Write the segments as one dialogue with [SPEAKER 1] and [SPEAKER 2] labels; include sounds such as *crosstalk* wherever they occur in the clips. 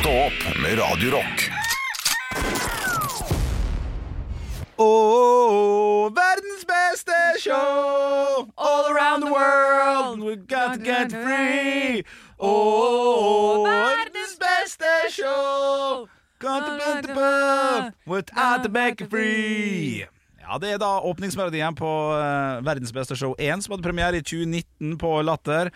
[SPEAKER 1] Stå opp med Radio Rock.
[SPEAKER 2] Oh, verdens beste show all around the world. We got to get free. Oh, verdens beste show. Contemplate without the back free. Ja, Det er da åpningsmelodien på eh, Verdens beste show 1, som hadde premiere i 2019 på Latter.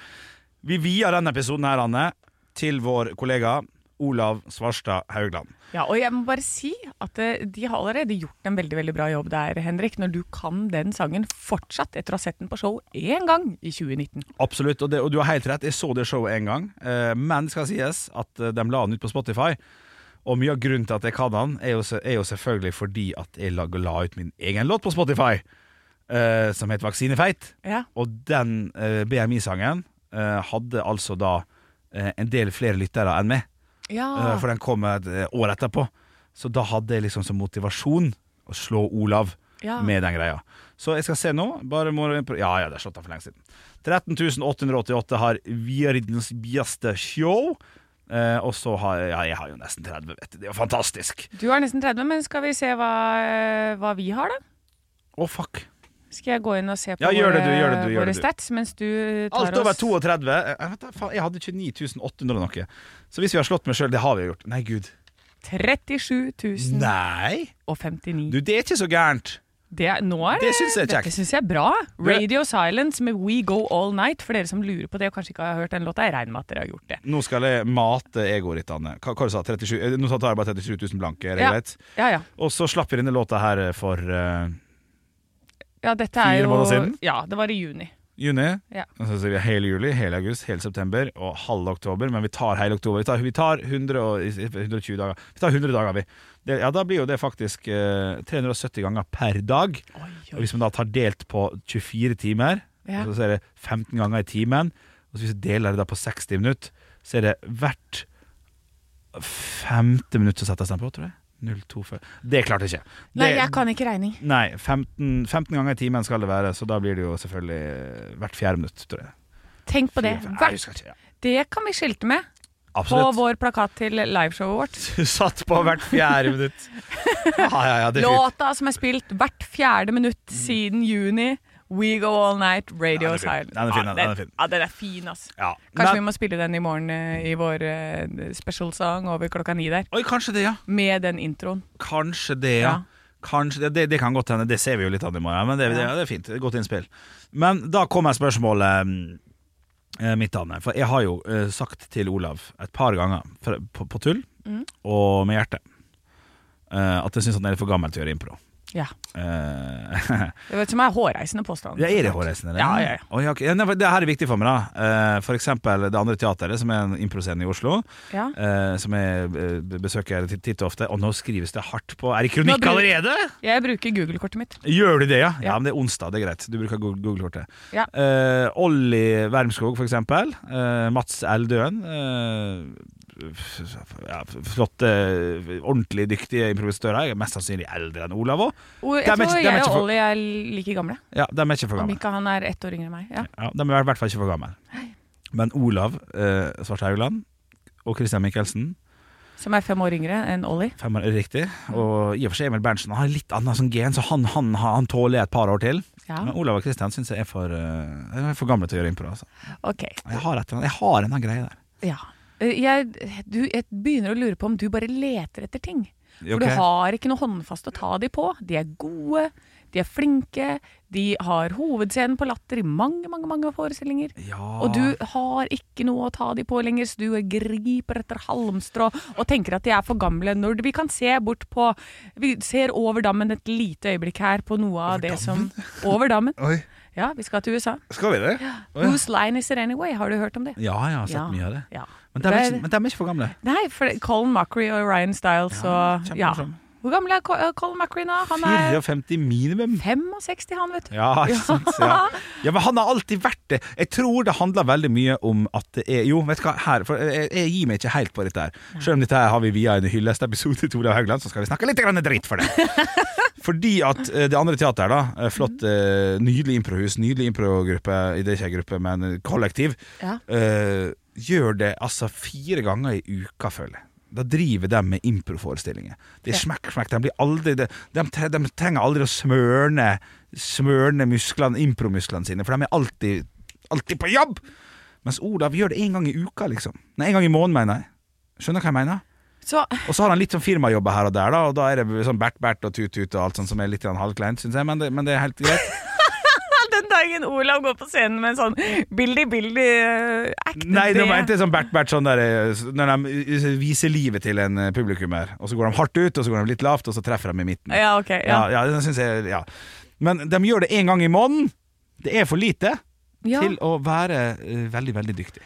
[SPEAKER 2] Vi vier denne episoden her, Anne, til vår kollega Olav Svarstad Haugland.
[SPEAKER 3] Ja, og jeg må bare si at eh, de har allerede gjort en veldig veldig bra jobb der, Henrik. Når du kan den sangen fortsatt etter å ha sett den på show én gang i 2019.
[SPEAKER 2] Absolutt, og, det, og du har helt rett. Jeg så det showet en gang. Eh, men det skal sies at eh, de la den ut på Spotify. Og mye av grunnen til at jeg kan den, er jo, se- er jo selvfølgelig fordi at jeg la, la ut min egen låt på Spotify, eh, som heter Vaksinefeit.
[SPEAKER 3] Ja.
[SPEAKER 2] Og den eh, BMI-sangen eh, hadde altså da eh, en del flere lyttere enn meg.
[SPEAKER 3] Ah.
[SPEAKER 2] Eh, For den kom et eh, år etterpå. Så da hadde jeg liksom som motivasjon å slå Olav
[SPEAKER 3] Ja.
[SPEAKER 2] med den greia. Så jeg skal se nå. Bare må Ja, ja, det er slått av for lenge siden. 13.888 har Viridens Biaste Show. Eh, og så har Ja, jeg har jo nesten 30, vet du. Det er jo fantastisk.
[SPEAKER 3] Du er nesten 30, men skal vi se hva, eh, hva vi har, da?
[SPEAKER 2] Å, fuck.
[SPEAKER 3] Skal jeg gå inn og se på
[SPEAKER 2] Ja, gjør
[SPEAKER 3] våre,
[SPEAKER 2] det du, gjør det du, gjør
[SPEAKER 3] våre
[SPEAKER 2] det du.
[SPEAKER 3] stats mens du tar
[SPEAKER 2] Alt over
[SPEAKER 3] oss
[SPEAKER 2] 32. Eh, vet du, faen, jeg hadde 29.800 og noe. Så hvis vi har slått meg sjøl, det har vi jo gjort. Nei, gud.
[SPEAKER 3] 37
[SPEAKER 2] Nei!
[SPEAKER 3] 059.
[SPEAKER 2] Du, det er ikke så gærent.
[SPEAKER 3] Det, er- nå er
[SPEAKER 2] Det synes jeg er kjekt.
[SPEAKER 3] Dette syns jeg er bra. Radio Silence med We Go All Night. For dere som lurer på det og kanskje ikke har hørt den låta, jeg regner med at dere har gjort det.
[SPEAKER 2] Nå skal jeg mate egoet ditt, Anne. Hva, hva du sa du? 37, eh, nå tar jeg bare 37 000 blanke, er det
[SPEAKER 3] Ja.
[SPEAKER 2] greit?
[SPEAKER 3] Ja, ja.
[SPEAKER 2] Og så slapp vi denne låta her eh, for eh,
[SPEAKER 3] ja dette er
[SPEAKER 2] Fire
[SPEAKER 3] jo
[SPEAKER 2] måneder siden?
[SPEAKER 3] Ja, det var i juni.
[SPEAKER 2] juni.
[SPEAKER 3] Ja.
[SPEAKER 2] Og Så sier vi hele juli, hele august, hele september og halv oktober. Men vi tar hele oktober. Vi tar, vi tar 100 og, 120 dager. Vi tar 100 dager, vi. Det, ja, da blir jo det faktisk eh, 370 ganger per dag. Og hvis man da tar delt på 24 timer,
[SPEAKER 3] Ja.
[SPEAKER 2] og så er det 15 ganger i timen, og så hvis vi deler det da på 60 minutter, så er det hvert femte minutt som settes den på, tror jeg. 0,25. Det klarte jeg ikke.
[SPEAKER 3] Nei,
[SPEAKER 2] Det-
[SPEAKER 3] jeg kan ikke regning.
[SPEAKER 2] Nei, 15, 15 ganger i timen skal det være, så da blir det jo selvfølgelig hvert fjerde minutt, tror jeg.
[SPEAKER 3] Tenk på det.
[SPEAKER 2] Fire, fem- Nei, jeg
[SPEAKER 3] Hvert,
[SPEAKER 2] husker ikke. Ja.
[SPEAKER 3] det kan vi skilte med på
[SPEAKER 2] Absolutt.
[SPEAKER 3] vår plakat til liveshowet
[SPEAKER 2] *laughs*
[SPEAKER 3] vårt.
[SPEAKER 2] Du satt på hvert fjerde
[SPEAKER 3] *laughs*
[SPEAKER 2] minutt. Ja, ja, ja, det er fint. Mm.
[SPEAKER 3] Låta som er spilt hvert fjerde minutt siden juni. We Go All Night, Radio
[SPEAKER 2] Ja, den er fin.
[SPEAKER 3] Silence.
[SPEAKER 2] Den er fin, den
[SPEAKER 3] ja,
[SPEAKER 2] er fin.
[SPEAKER 3] ja, den er fin, ass.
[SPEAKER 2] Ja.
[SPEAKER 3] Kanskje vi
[SPEAKER 2] Men,
[SPEAKER 3] må spille den i morgen eh, i vår eh, special song over klokka ni der.
[SPEAKER 2] oi, kanskje det, ja.
[SPEAKER 3] Med den introen.
[SPEAKER 2] Kanskje det, ja.
[SPEAKER 3] Ja.
[SPEAKER 2] Kanskje det, det, det kan godt hende. Det ser vi jo litt an i morgen, men det, det,
[SPEAKER 3] Ja.
[SPEAKER 2] ja, det er fint. Det er Godt innspill. Men da kommer spørsmålet mm, eh, mitt, Anne. For jeg har jo eh, sagt til Olav et par ganger, fra- på, på tull
[SPEAKER 3] Mm.
[SPEAKER 2] og med hjertet, eh, at jeg syns han er litt for gammel til å gjøre impro.
[SPEAKER 3] Ja.
[SPEAKER 2] Eh, *laughs*
[SPEAKER 3] Det vet, som er hårreisende påstand.
[SPEAKER 2] Ja, er det hårreisende? eller?
[SPEAKER 3] Ja, ja, ja.
[SPEAKER 2] Oi, ok. Ja, nei, for det her er viktig for meg, da. Eh, For eksempel Det Andre Teatret, som er en improscene i Oslo.
[SPEAKER 3] Ja.
[SPEAKER 2] eh, Som jeg eh, besøker titt- titt og ofte. Og nå skrives det hardt på. Er det kronikk
[SPEAKER 3] Nå blir-
[SPEAKER 2] allerede?!
[SPEAKER 3] Jeg bruker Google-kortet mitt.
[SPEAKER 2] Gjør du det, ja? ja?
[SPEAKER 3] Ja.
[SPEAKER 2] men det er onsdag, det er greit. Du bruker Google- Google-kortet.
[SPEAKER 3] Ja.
[SPEAKER 2] Eh, Olli Wermskog, for eksempel. Eh, Mats L. Døen. Eh, f- f- ja, flotte, ordentlig dyktige improvisatører. Jeg er Mest sannsynlig eldre enn Olav òg.
[SPEAKER 3] Og jeg
[SPEAKER 2] Dem er
[SPEAKER 3] tror
[SPEAKER 2] ikke- dem er
[SPEAKER 3] jeg
[SPEAKER 2] ikke
[SPEAKER 3] og
[SPEAKER 2] for-
[SPEAKER 3] Ollie er like gamle.
[SPEAKER 2] Ja, de er ikke for
[SPEAKER 3] Om
[SPEAKER 2] gamle.
[SPEAKER 3] ikke han er ett år yngre enn meg. Ja.
[SPEAKER 2] Ja, de er i hvert fall ikke for gamle. Men Olav eh, Svarte Haugland og Christian Michelsen,
[SPEAKER 3] Som er fem år yngre enn Ollie.
[SPEAKER 2] fem år riktig,
[SPEAKER 3] Mm.
[SPEAKER 2] og i og for seg Emil Berntsen, han har litt annet sånn gen, så han, han, han tåler et par år til.
[SPEAKER 3] Ja.
[SPEAKER 2] Men Olav og Christian syns jeg er for, eh, er for gamle til å gjøre impro. Altså.
[SPEAKER 3] Ok.
[SPEAKER 2] Jeg har et eller annet- jeg har en eller annen greie der.
[SPEAKER 3] Ja. Eh, Jeg, du, jeg begynner å lure på om du bare leter etter ting. For
[SPEAKER 2] Ok.
[SPEAKER 3] du har ikke noe håndfast å ta de på. De er gode, de er flinke, de har hovedscenen på latter i mange, mange, mange forestillinger.
[SPEAKER 2] ja.
[SPEAKER 3] Og du
[SPEAKER 2] Ah.
[SPEAKER 3] har ikke noe å ta de på lenger, så du griper etter halmstrå og tenker at de er for gamle. Når vi kan se bort på Vi ser over dammen et lite øyeblikk her på noe av det som Over dammen. Ja, vi skal til USA.
[SPEAKER 2] Skal vi det? Å, ja.
[SPEAKER 3] Whose line is it anyway? Har du hørt om det?
[SPEAKER 2] Ja, jeg har sett mye av det.
[SPEAKER 3] Ja.
[SPEAKER 2] Men de er liksom- ikke, men de er ikke for gamle.
[SPEAKER 3] Nei, for det- Colin Mockery og Ryan Stiles og ja.
[SPEAKER 2] kjempemorsom.
[SPEAKER 3] Hvor gammel er Co- eh, Colin Mockery nå? Han er
[SPEAKER 2] 54 minimum.
[SPEAKER 3] 65, han, vet du.
[SPEAKER 2] *laughs* Ja, ikke sant? Ja. ja, men han har alltid vært det. Jeg tror det handler veldig mye om at det er Jo, vet du hva, her, for jeg, jeg gir meg ikke helt på dette her. Selv om dette her har vi via en hyllestepisode til Olav Haugland, så skal vi snakke litt grann dritt for det. Fordi at eh, det andre teateret, da eh, Flott, eh, nydelig improhus, nydelig improgruppe, det er ikke en gruppe, men kollektiv,
[SPEAKER 3] Ja.
[SPEAKER 2] eh, gjør det altså fire ganger i uka, føler jeg. Da driver de med improforestillinger. Det er smekk, smekk. De, blir aldri, de, de, tre- de trenger aldri å smørne, smørne musklene, impromusklene sine, for de er alltid, alltid på jobb! Mens Olav gjør det én gang i uka, liksom. Nei, én gang i måneden, mener jeg. Skjønner du hva jeg mener?
[SPEAKER 3] Så *laughs*
[SPEAKER 2] Og så har han litt sånn firmajobber her og der, da, og da er det sånn bert-bert og tut-tut og alt sånt som er litt grann halvkleint, syns jeg, men det, men det er helt greit.
[SPEAKER 3] den dagen Olav går på scenen med en sånn eh, bildy-bildy-act
[SPEAKER 2] Nei, nå mente jeg sånn bert-bert sånn der eh, når de viser livet til en eh, publikummer, og så går de hardt ut, og så går de litt lavt, og så treffer de i midten.
[SPEAKER 3] Ja, ok.
[SPEAKER 2] ja, ja,
[SPEAKER 3] Ja.
[SPEAKER 2] det synes jeg, ja. Men de gjør det én gang i måneden. Det er for lite
[SPEAKER 3] Ja.
[SPEAKER 2] til å være eh, veldig, veldig dyktig.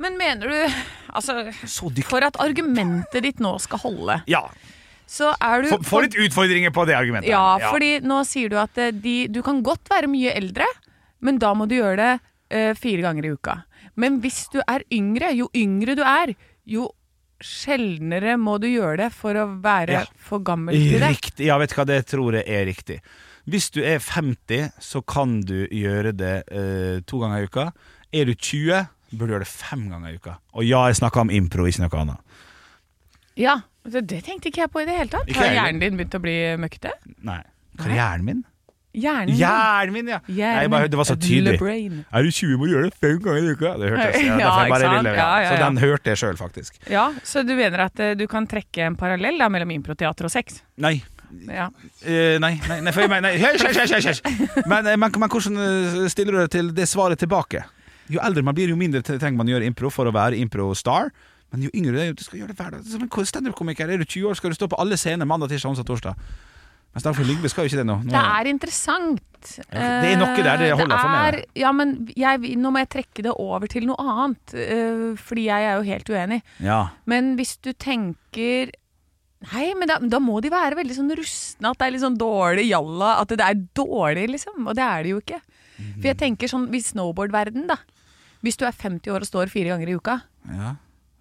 [SPEAKER 3] Men mener du Altså,
[SPEAKER 2] Så dyktig.
[SPEAKER 3] for at argumentet ditt nå skal holde,
[SPEAKER 2] Ja.
[SPEAKER 3] så er du
[SPEAKER 2] Få få litt utfordringer på det argumentet.
[SPEAKER 3] Ja, fordi nå sier du at eh, de, du kan godt være mye eldre, men da må du gjøre det eh, fire ganger i uka. Men hvis du er yngre, jo yngre du er, jo sjeldnere må du gjøre det for å være
[SPEAKER 2] Ja.
[SPEAKER 3] for gammel til det.
[SPEAKER 2] Riktig. Ja, vet du hva, det tror jeg er riktig. Hvis du er 50, så kan du gjøre det eh, to ganger i uka. Er du 20, bør du gjøre det fem ganger i uka. Og ja, jeg snakker om impro, ikke noe annet.
[SPEAKER 3] Ja, det, det tenkte ikke jeg på i det hele tatt.
[SPEAKER 2] Ikke
[SPEAKER 3] Har
[SPEAKER 2] jeg heller.
[SPEAKER 3] hjernen din begynt å bli møkkete?
[SPEAKER 2] Nei. Karrieren min?
[SPEAKER 3] Hjernen din?
[SPEAKER 2] Hjernen min, ja! Nei, jeg bare, det var så
[SPEAKER 3] The
[SPEAKER 2] tydelig.
[SPEAKER 3] brain.
[SPEAKER 2] Er du 20, må du gjøre det fem ganger i uka! Det hørte jeg,
[SPEAKER 3] Ja,
[SPEAKER 2] ja, derfor jeg
[SPEAKER 3] ikke
[SPEAKER 2] bare
[SPEAKER 3] sant?
[SPEAKER 2] ville,
[SPEAKER 3] Ja, ja,
[SPEAKER 2] Så
[SPEAKER 3] ja.
[SPEAKER 2] den hørte jeg sjøl, faktisk.
[SPEAKER 3] Ja, så du mener at eh, du kan trekke en parallell da, mellom improteater og sex?
[SPEAKER 2] Nei.
[SPEAKER 3] Ja.
[SPEAKER 2] Eh, nei, nei, nei, for jeg mener nei. Hysj, hysj, hysj, hysj, hysj! Men, eh, men, men hvordan eh, stiller du deg til det svaret tilbake? Jo eldre man blir, jo mindre tre- trenger man å gjøre impro for å være impro-star. Men jo yngre du er, du skal gjøre det hver dag. Som en standup-komiker er du 20 år, skal du stå på alle scener mandag, tirsdag, onsdag, torsdag. Mens Dagfinn Lyngve skal jo ikke det nå. nå
[SPEAKER 3] Det er interessant. Eh,
[SPEAKER 2] det er noe der, det holder for meg.
[SPEAKER 3] er- Ja, men jeg, nå må jeg trekke det over til noe annet, eh, fordi jeg er jo helt uenig.
[SPEAKER 2] ja.
[SPEAKER 3] Men hvis du tenker Nei, men da, da må de være veldig sånn rustne, at det er litt sånn dårlig jalla, at det er dårlig, liksom. Og det er det jo ikke. For jeg tenker sånn, i snowboardverden da. Hvis du er 50 år og står fire ganger i uka,
[SPEAKER 2] ja.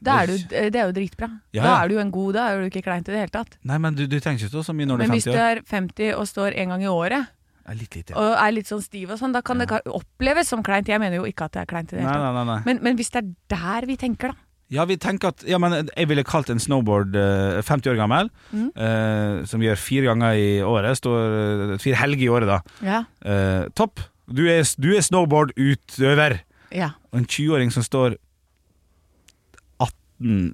[SPEAKER 3] da er du, eh, det er jo dritbra.
[SPEAKER 2] Ja,
[SPEAKER 3] Da
[SPEAKER 2] ja.
[SPEAKER 3] er du jo en god, da er du ikke klein i det hele tatt.
[SPEAKER 2] Nei, men du, du trenger ikke stå så mye når du
[SPEAKER 3] Men
[SPEAKER 2] er
[SPEAKER 3] hvis du
[SPEAKER 2] 50 år.
[SPEAKER 3] er 50 og står en gang i året,
[SPEAKER 2] Ja, litt lite.
[SPEAKER 3] og er litt sånn stiv og sånn, da kan det ka- oppleves som kleint. Jeg mener jo ikke at det er kleint i det
[SPEAKER 2] Nei,
[SPEAKER 3] hele tatt.
[SPEAKER 2] nei, nei, nei.
[SPEAKER 3] Men, men hvis det er der vi tenker, da.
[SPEAKER 2] Ja, vi tenker at Ja, men eh, jeg ville kalt en snowboard eh, 50 år gammel,
[SPEAKER 3] Mm.
[SPEAKER 2] eh, som gjør fire ganger i året, står eh, fire helger i året, da.
[SPEAKER 3] Ja.
[SPEAKER 2] Eh, topp. Du er, du er snowboardutøver.
[SPEAKER 3] ja.
[SPEAKER 2] Og en 20-åring som står 18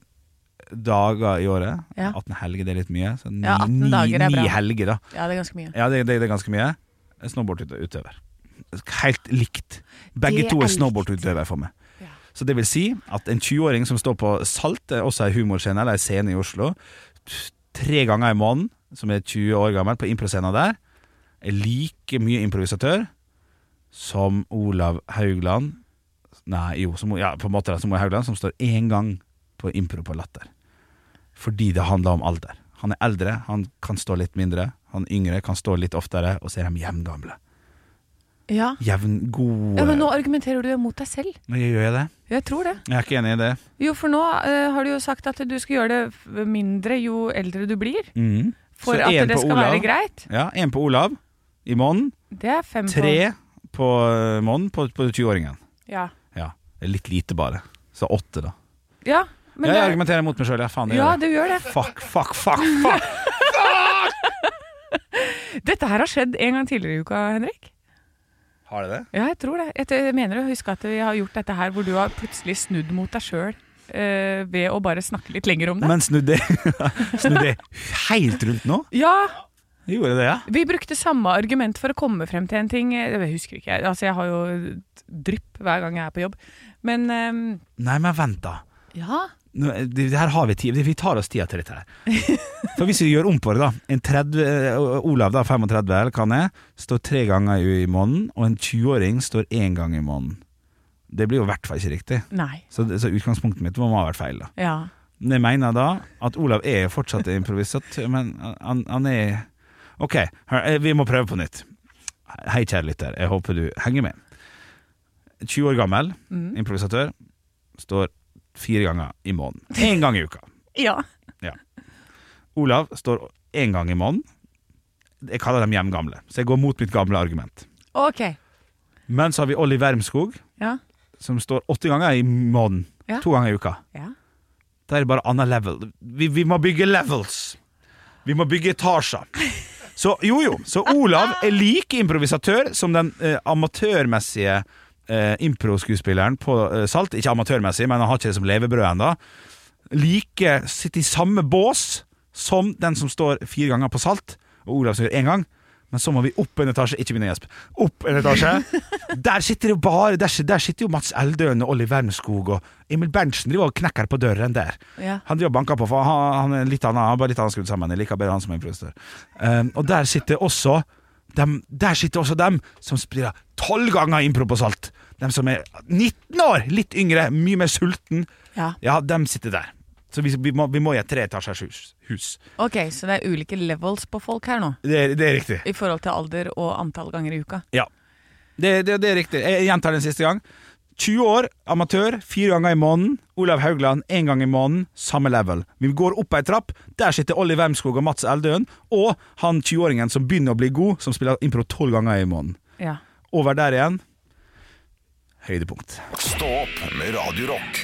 [SPEAKER 2] dager i året.
[SPEAKER 3] Ja.
[SPEAKER 2] 18 helger, det er litt mye. Så ni,
[SPEAKER 3] Ja, 18 dager er
[SPEAKER 2] ni,
[SPEAKER 3] bra.
[SPEAKER 2] ni helger, da.
[SPEAKER 3] det er ganske mye.
[SPEAKER 2] Ja, det, det, det er ganske mye. En Snowboardutøver. Helt likt. Begge
[SPEAKER 3] Det
[SPEAKER 2] to er
[SPEAKER 3] er likt.
[SPEAKER 2] snowboardutøver for meg.
[SPEAKER 3] Ja.
[SPEAKER 2] Så det vil si at en 20-åring som står på Salt, det er også ei humorscene eller ei scene i Oslo, t- tre ganger i måneden, som er 20 år gammel, på improscena der, er like mye improvisatør som Olav Haugland Nei, jo, som, ja, på en måte da, som Olav Haugland, som står én gang på impro på Latter. Fordi det handler om alder. Han er eldre, han kan stå litt mindre. Han yngre kan stå litt oftere, og så er de jevngamle.
[SPEAKER 3] Ja.
[SPEAKER 2] Jevn, gode
[SPEAKER 3] ja, Men nå argumenterer du jo mot deg selv.
[SPEAKER 2] Nå gjør jeg det.
[SPEAKER 3] Jeg tror det.
[SPEAKER 2] Jeg er ikke enig i det.
[SPEAKER 3] Jo, for nå eh, har du jo sagt at du skal gjøre det f- mindre jo eldre du blir.
[SPEAKER 2] Mhm.
[SPEAKER 3] For
[SPEAKER 2] Så
[SPEAKER 3] at
[SPEAKER 2] en
[SPEAKER 3] det
[SPEAKER 2] på
[SPEAKER 3] skal
[SPEAKER 2] Olav.
[SPEAKER 3] være greit.
[SPEAKER 2] Ja, én på Olav i måneden,
[SPEAKER 3] Det er fem på-
[SPEAKER 2] tre på eh, måneden på, på 20-åringen.
[SPEAKER 3] Ja.
[SPEAKER 2] Ja, det er litt lite bare. Så åtte, da.
[SPEAKER 3] ja men
[SPEAKER 2] jeg
[SPEAKER 3] det,
[SPEAKER 2] argumenterer mot meg sjøl, ja. Faen, jeg
[SPEAKER 3] ja,
[SPEAKER 2] gjør det.
[SPEAKER 3] du gjør det.
[SPEAKER 2] Fuck, fuck, fuck, fuck!
[SPEAKER 3] Dette her har skjedd en gang tidligere i uka, Henrik.
[SPEAKER 2] Har det det?
[SPEAKER 3] Ja, jeg tror det. Jeg t- Jeg mener å huske at vi har gjort dette her hvor du har plutselig snudd mot deg sjøl eh, ved å bare snakke litt lenger om det.
[SPEAKER 2] Men snudd det *laughs* Snudd det helt rundt nå?
[SPEAKER 3] ja,
[SPEAKER 2] Jeg gjorde det, ja.
[SPEAKER 3] vi brukte samme argument for å komme frem til en ting. Eh, Jeg husker ikke, jeg- altså jeg har jo drypp hver gang jeg er på jobb. Men ehm,
[SPEAKER 2] Nei, men vent, da.
[SPEAKER 3] ja,
[SPEAKER 2] nå, det her har vi tid Vi tar oss tida til dette her. For hvis vi gjør om på det, da en 30, eh, Olav, da, 35, eller hva han er, står tre ganger i i måneden, og en 20-åring står én gang i måneden. Det blir jo i hvert fall ikke riktig.
[SPEAKER 3] Nei.
[SPEAKER 2] Så, det- så utgangspunktet mitt må ha vært feil, da.
[SPEAKER 3] Ja.
[SPEAKER 2] Men Jeg mener da at Olav er fortsatt improvisatør, men han, han er Ok, hør, eh, vi må prøve på nytt. Hei, kjære lytter, jeg håper du henger med. 20 år gammel, improvisatør, står fire ganger i måneden. Én gang i uka.
[SPEAKER 3] Ja.
[SPEAKER 2] Olav står én gang i måneden. Jeg kaller dem hjemgamle, så jeg går mot mitt gamle argument.
[SPEAKER 3] Ok.
[SPEAKER 2] Men så har vi Olli Wermskog,
[SPEAKER 3] Ja.
[SPEAKER 2] som står åtte ganger i måneden.
[SPEAKER 3] Ja.
[SPEAKER 2] To ganger i uka.
[SPEAKER 3] Ja.
[SPEAKER 2] Da er det bare annet level. Vi, vi må bygge levels. Vi må bygge etasjer. Så jo, jo. Så Olav er like improvisatør som den eh, amatørmessige eh, improskuespilleren på eh, Salt. Ikke amatørmessig, men han har ikke det som levebrød ennå. Like sitter i samme bås som den som står fire ganger på Salt, og Olav som gjør én gang. Men så må vi opp en etasje. Ikke begynn å gjespe. Opp en etasje. Der sitter det jo bare Der, der sitter jo Mats Eldøen og Olli Wermskog og Emil Berntsen driver og knekker på døren der.
[SPEAKER 3] Ja.
[SPEAKER 2] Han driver og banker på, for han, han er litt annen, han er bare litt annen skrudd sammen. Jeg liker bedre han som er improvisatør. Um, og der sitter også dem, der sitter også dem som spiller tolv ganger impro på salt. Dem som er 19 år, litt yngre, mye mer sulten.
[SPEAKER 3] Ja.
[SPEAKER 2] Ja, dem sitter der. Så vi, vi, må, vi må i et treetasjers hus. hus.
[SPEAKER 3] Ok, så det er ulike levels på folk her nå.
[SPEAKER 2] Det, er, det er riktig.
[SPEAKER 3] I forhold til alder og antall ganger i uka.
[SPEAKER 2] Ja. Det, det, det er riktig. Jeg gjentar den siste gang. 20 år, amatør, fire ganger i måneden. Olav Haugland, én gang i måneden, samme level. Vi går opp ei trapp. Der sitter Olli Wermskog og Mats Eldøen, og han 20-åringen som begynner å bli god, som spiller impro tolv ganger i måneden.
[SPEAKER 3] Ja.
[SPEAKER 2] Over der igjen. Høydepunkt.
[SPEAKER 1] Stå opp med Radio Rock.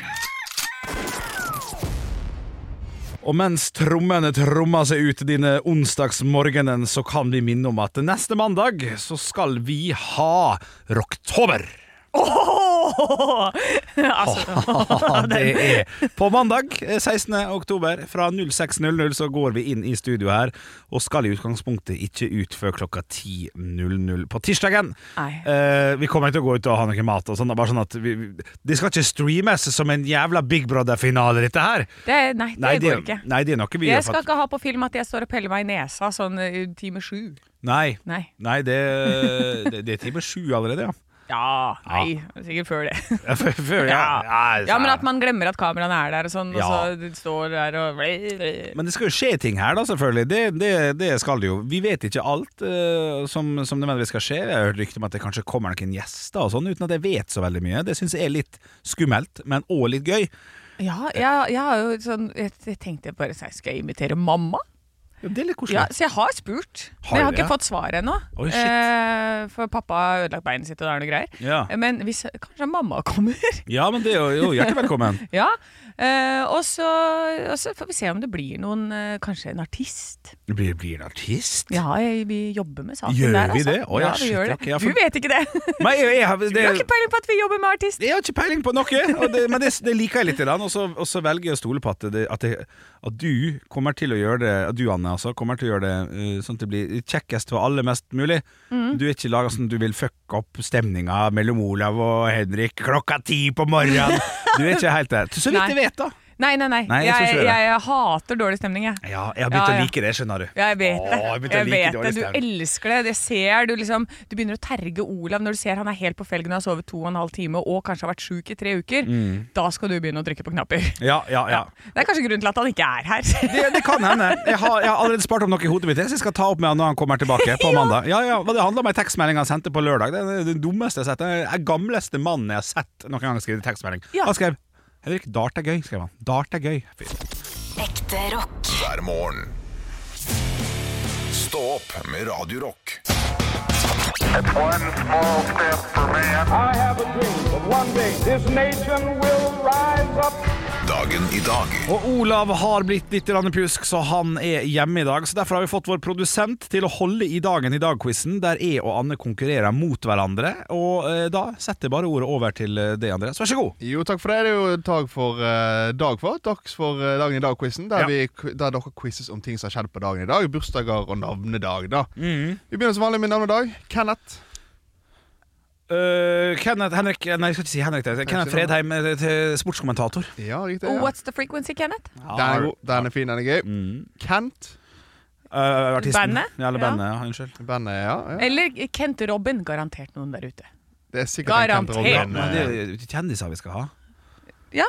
[SPEAKER 2] Og mens trommene trommer seg ut dine onsdagsmorgenen, så kan vi minne om at neste mandag så skal vi ha Rocktober.
[SPEAKER 3] *laughs* Altså,
[SPEAKER 2] *laughs* Ja, det er På mandag eh, 16. oktober fra 06.00 så går vi inn i studio her, og skal i utgangspunktet ikke ut før klokka 10.00 på tirsdagen.
[SPEAKER 3] Nei.
[SPEAKER 2] Eh, vi kommer ikke til å gå ut og ha noe mat og sånn, det er bare sånn at vi, vi- det skal ikke streames som en jævla Big Brother-finale, dette her.
[SPEAKER 3] Det, nei, det
[SPEAKER 2] Nei, det,
[SPEAKER 3] går ikke.
[SPEAKER 2] nei, det er noe vi
[SPEAKER 3] Jeg
[SPEAKER 2] gjør for
[SPEAKER 3] skal
[SPEAKER 2] at-
[SPEAKER 3] ikke ha på film at jeg står og peller meg i nesa sånn i time sju.
[SPEAKER 2] Nei,
[SPEAKER 3] Nei.
[SPEAKER 2] nei det, det, det er time sju allerede, ja. *laughs*
[SPEAKER 3] Ja, nei, sikkert før det.
[SPEAKER 2] Ja, før- før- ja. ja, altså.
[SPEAKER 3] Ja, men at man glemmer at kameraene er der og sånn,
[SPEAKER 2] sånn Ja.
[SPEAKER 3] og så de står der og
[SPEAKER 2] Men det skal jo skje ting her, da, selvfølgelig. Det, det, det skal det jo. Vi vet ikke alt eh, som, som nødvendigvis skal skje. Jeg har hørt rykter om at det kanskje kommer noen gjester og sånn, uten at jeg vet så veldig mye. Det syns jeg er litt skummelt, men òg litt gøy.
[SPEAKER 3] Ja, jeg, jeg har jo sånn Jeg, jeg tenkte bare sånn, skal jeg invitere mamma?
[SPEAKER 2] Ja, Det er litt koselig.
[SPEAKER 3] Ja, så jeg har spurt,
[SPEAKER 2] Har
[SPEAKER 3] men jeg har
[SPEAKER 2] du
[SPEAKER 3] ikke
[SPEAKER 2] det?
[SPEAKER 3] fått svar ennå.
[SPEAKER 2] Oi, shit.
[SPEAKER 3] Eh, for pappa har ødelagt beinet sitt, og det er noe greier.
[SPEAKER 2] Ja.
[SPEAKER 3] Men hvis kanskje mamma *laughs* kommer?
[SPEAKER 2] Ja, men det er jo, jo hjertelig velkommen. *laughs*
[SPEAKER 3] ja. Eh, og, så, og så får vi se om det blir noen eh, Kanskje en artist.
[SPEAKER 2] Du blir, blir en artist?
[SPEAKER 3] Ja, jeg, vi jobber med saken
[SPEAKER 2] Gjør
[SPEAKER 3] der,
[SPEAKER 2] vi
[SPEAKER 3] altså.
[SPEAKER 2] det? Å, ja,
[SPEAKER 3] vi
[SPEAKER 2] shit,
[SPEAKER 3] gjør det.
[SPEAKER 2] ok, ja, for-
[SPEAKER 3] Du vet
[SPEAKER 2] *laughs*
[SPEAKER 3] ikke det!
[SPEAKER 2] Men jeg, jeg, har-
[SPEAKER 3] Du
[SPEAKER 2] det,
[SPEAKER 3] har ikke peiling på at vi jobber med artist!
[SPEAKER 2] jeg har ikke peiling på noe, og det, men det, det liker jeg litt. grann, Og så, og så velger jeg å stole på at, det, at, det, at du kommer til å gjøre det At du, Anne, altså, kommer til å gjøre det eh, sånn at det blir kjekkest for alle mest mulig.
[SPEAKER 3] Mm.
[SPEAKER 2] Du er ikke laga sånn at du vil fucke opp stemninga mellom Olav og Henrik klokka ti på morgenen. Du er ikke helt der. Så
[SPEAKER 3] Nei.
[SPEAKER 2] vidt jeg vet, da.
[SPEAKER 3] Nei, nei, nei.
[SPEAKER 2] Nei, jeg tror
[SPEAKER 3] jeg,
[SPEAKER 2] ikke
[SPEAKER 3] jeg,
[SPEAKER 2] det.
[SPEAKER 3] hater dårlig stemning, jeg.
[SPEAKER 2] Ja, jeg har
[SPEAKER 3] Ja,
[SPEAKER 2] begynt
[SPEAKER 3] ja.
[SPEAKER 2] å like det, skjønner du.
[SPEAKER 3] Ja, jeg vet det.
[SPEAKER 2] Åh, jeg begynte å
[SPEAKER 3] jeg
[SPEAKER 2] like
[SPEAKER 3] vet
[SPEAKER 2] dårlig
[SPEAKER 3] det. Du
[SPEAKER 2] stemning.
[SPEAKER 3] elsker det. Det ser du liksom Du begynner å terge Olav når du ser han er helt på felgen og har sovet to og en halv time og kanskje har vært sjuk i tre uker.
[SPEAKER 2] Mm.
[SPEAKER 3] Da skal du begynne å trykke på knapper. *laughs*
[SPEAKER 2] Ja, ja, ja.
[SPEAKER 3] Det er kanskje grunnen til at han ikke er her.
[SPEAKER 2] *laughs* Det, det kan hende. Jeg har, jeg har allerede spart opp noe i hodet mitt, så jeg skal ta opp med han når han kommer tilbake på mandag. Ja, ja, hva Det handla om ei tekstmelding han sendte på lørdag. Det er den dummeste jeg har sett. Den er Den gamleste mannen jeg har sett noen gang skrive tekstmelding.
[SPEAKER 3] Ja.
[SPEAKER 2] Han skrev Henrik, dart er gøy, skrev han. Dart er gøy. Fy.
[SPEAKER 4] Ekte rock.
[SPEAKER 1] hver morgen. Stå opp med Radio Rock.
[SPEAKER 5] One small step for man. I have a dream that one day this nation will rise up.
[SPEAKER 1] Dagen i dag
[SPEAKER 2] Og Olav har blitt litt grann pjusk, så han er hjemme i dag. Så Derfor har vi fått vår produsent til å holde i Dagen i dag-quizen, der jeg og Anne konkurrerer mot hverandre. Og eh, da setter jeg bare ordet over til eh, deg, Andreas. Vær så god.
[SPEAKER 6] Jo, takk for det. Det er jo dag for eh, dag for. Dags for eh, dagen i dag-quizen.
[SPEAKER 2] Ja.
[SPEAKER 6] Der, vi- der dere quizzes om ting som har skjedd på dagen i dag.
[SPEAKER 2] Mm.
[SPEAKER 6] Bursdager og navnedag, da. Vi begynner som vanlig med navnedag. Kenneth.
[SPEAKER 2] Eh, Kenneth Henrik Nei, jeg skal ikke si Henrik. Det. er Kenneth
[SPEAKER 6] si det.
[SPEAKER 2] Fredheim, eh, til sportskommentator.
[SPEAKER 6] Ja, riktig.
[SPEAKER 3] Oh,
[SPEAKER 6] Ja.
[SPEAKER 3] what's the frequency, Kenneth?
[SPEAKER 6] Den er god, den er fin, den er gøy.
[SPEAKER 2] Mm.
[SPEAKER 6] Kent.
[SPEAKER 2] Eh, artisten.
[SPEAKER 3] Bandet?
[SPEAKER 2] Ja, eller
[SPEAKER 3] Ja.
[SPEAKER 2] bandet, ja. Unnskyld.
[SPEAKER 6] Bandet, ja. ja.
[SPEAKER 3] Eller Kent Robin. Garantert noen der ute.
[SPEAKER 6] Det er sikkert en Kent
[SPEAKER 3] Garantert.
[SPEAKER 6] Robin.
[SPEAKER 2] Men det
[SPEAKER 6] eh,
[SPEAKER 2] er jo kjendiser vi skal ha.
[SPEAKER 3] Ja.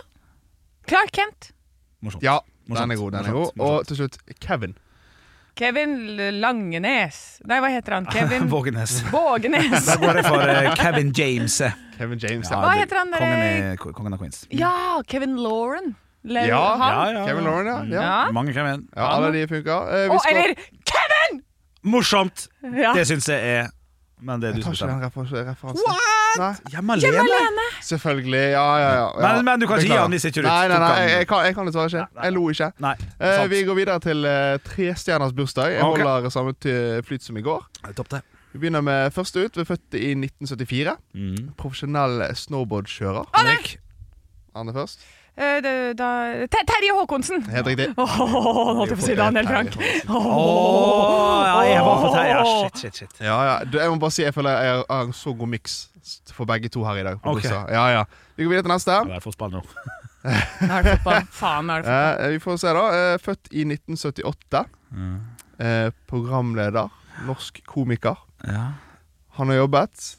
[SPEAKER 3] Clark Kent.
[SPEAKER 2] Morsomt. *laughs*
[SPEAKER 6] Ja,
[SPEAKER 2] Morsomt,
[SPEAKER 6] den er god. den er
[SPEAKER 2] morsomt,
[SPEAKER 6] god Og til slutt Kevin.
[SPEAKER 3] Kevin L- Langenes. Nei, hva heter
[SPEAKER 2] *laughs*
[SPEAKER 3] han? Kevin
[SPEAKER 2] Vågenes.
[SPEAKER 3] Vågenes.
[SPEAKER 2] Der går jeg for eh, Kevin James. eh.
[SPEAKER 6] Kevin James.
[SPEAKER 2] Ja,
[SPEAKER 6] Ja,
[SPEAKER 3] Hva
[SPEAKER 2] det-
[SPEAKER 3] heter han der?
[SPEAKER 2] Kongen, i, ko- kongen av Queens.
[SPEAKER 3] Ja, Kevin Lauren. Le
[SPEAKER 6] Ja.
[SPEAKER 3] han.
[SPEAKER 6] Kevin Lauren, ja. ja.
[SPEAKER 3] Ja.
[SPEAKER 2] Mm. Mange Kevin.
[SPEAKER 6] ja alle de funka. Eh, vi
[SPEAKER 3] Og,
[SPEAKER 6] skal-
[SPEAKER 3] eller Kevin!
[SPEAKER 2] Morsomt!
[SPEAKER 3] Ja.
[SPEAKER 2] Det syns jeg er Men det er du
[SPEAKER 6] Jeg
[SPEAKER 2] som
[SPEAKER 6] tar ikke den
[SPEAKER 2] bestemmer.
[SPEAKER 6] refer- referansen. Nei.
[SPEAKER 2] Hjemme alene?
[SPEAKER 6] Selvfølgelig. Ja, ja, ja. ja.
[SPEAKER 2] Men- men du kan ikke gi
[SPEAKER 6] Beklager.
[SPEAKER 2] han hvis ikke du
[SPEAKER 6] Nei, nei,
[SPEAKER 2] tok
[SPEAKER 6] nei,
[SPEAKER 2] han.
[SPEAKER 6] jeg, jeg, kan, jeg kan dessverre ikke. Jeg lo ikke.
[SPEAKER 2] Nei.
[SPEAKER 6] Eh,
[SPEAKER 2] Sant.
[SPEAKER 6] vi går videre til eh, trestjerners bursdag. Jeg
[SPEAKER 2] Ok.
[SPEAKER 6] holder samme ty- flyt som i går.
[SPEAKER 2] Topp det.
[SPEAKER 6] Vi begynner med første ut. Vi er født i 1974.
[SPEAKER 2] Mm.
[SPEAKER 6] Profesjonell snowboardkjører.
[SPEAKER 2] Henrik.
[SPEAKER 6] Han er først.
[SPEAKER 3] Eh, det- da- Ter- Terje Håkonsen.
[SPEAKER 6] Helt riktig.
[SPEAKER 3] Åh, nå holdt jeg på å si Daniel Frank.
[SPEAKER 2] Åh, ja, jeg var på Terje. Ja, shit, shit, shit.
[SPEAKER 6] Ja, ja. Du, jeg må bare si jeg føler jeg har- har en så god miks for begge to her i dag. på
[SPEAKER 2] Ok.
[SPEAKER 6] bursdag. Ja, ja. Vi går videre til neste.
[SPEAKER 2] Vær fotball nå.
[SPEAKER 3] Nå er det fotball. Faen, nå er det fotball.
[SPEAKER 6] Eh, vi får se, da. Eh, født i 1978. Eh, programleder. Norsk komiker.
[SPEAKER 2] Ja.
[SPEAKER 6] Han har jobbet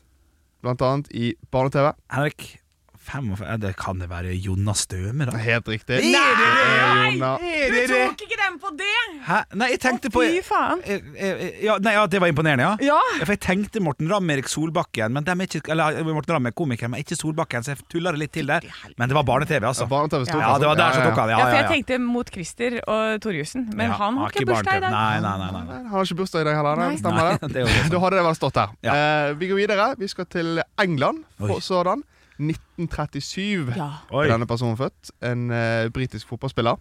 [SPEAKER 6] blant annet i barne-TV.
[SPEAKER 2] Henrik. 45 ja, Det kan det være Jonas Støme, da?
[SPEAKER 6] Helt riktig.
[SPEAKER 2] Er det det?
[SPEAKER 6] Eh, Jonna.
[SPEAKER 2] Er
[SPEAKER 3] Du
[SPEAKER 2] det det?
[SPEAKER 3] tok ikke den på det!
[SPEAKER 2] Hæ? Nei, jeg tenkte på
[SPEAKER 3] Fy faen.
[SPEAKER 2] Eh, eh, ja, nei, ja, det var imponerende, ja.
[SPEAKER 3] Ja.
[SPEAKER 2] For jeg tenkte Morten Ramm Erik Solbakken, men dem er ikke, eller eh, Morten Ramm er komiker, men ikke Solbakken, så jeg tulla det litt til der. Men det var barne-TV, altså.
[SPEAKER 6] Barne-TV står
[SPEAKER 2] Ja, det var
[SPEAKER 6] sånn.
[SPEAKER 2] der som tok han.
[SPEAKER 3] Ja,
[SPEAKER 2] Ja,
[SPEAKER 3] for jeg
[SPEAKER 2] ja, ja.
[SPEAKER 3] tenkte mot Christer og Torjussen, men
[SPEAKER 2] Ja,
[SPEAKER 3] han har ikke bursdag
[SPEAKER 2] barne-TV.
[SPEAKER 3] i dag.
[SPEAKER 2] Nei, nei, nei. nei, nei.
[SPEAKER 6] Han har ikke bursdag i dag heller.
[SPEAKER 3] Nei.
[SPEAKER 6] det Stemmer
[SPEAKER 2] Nei, *laughs*
[SPEAKER 6] det?
[SPEAKER 2] det er jo det.
[SPEAKER 6] Da hadde det vel stått der.
[SPEAKER 2] Ja.
[SPEAKER 6] Eh, vi går videre. Vi skal til England.
[SPEAKER 2] Oi.
[SPEAKER 6] For sådan. 1937
[SPEAKER 3] Ja.
[SPEAKER 2] Oi.
[SPEAKER 6] er denne personen født. En eh, britisk fotballspiller.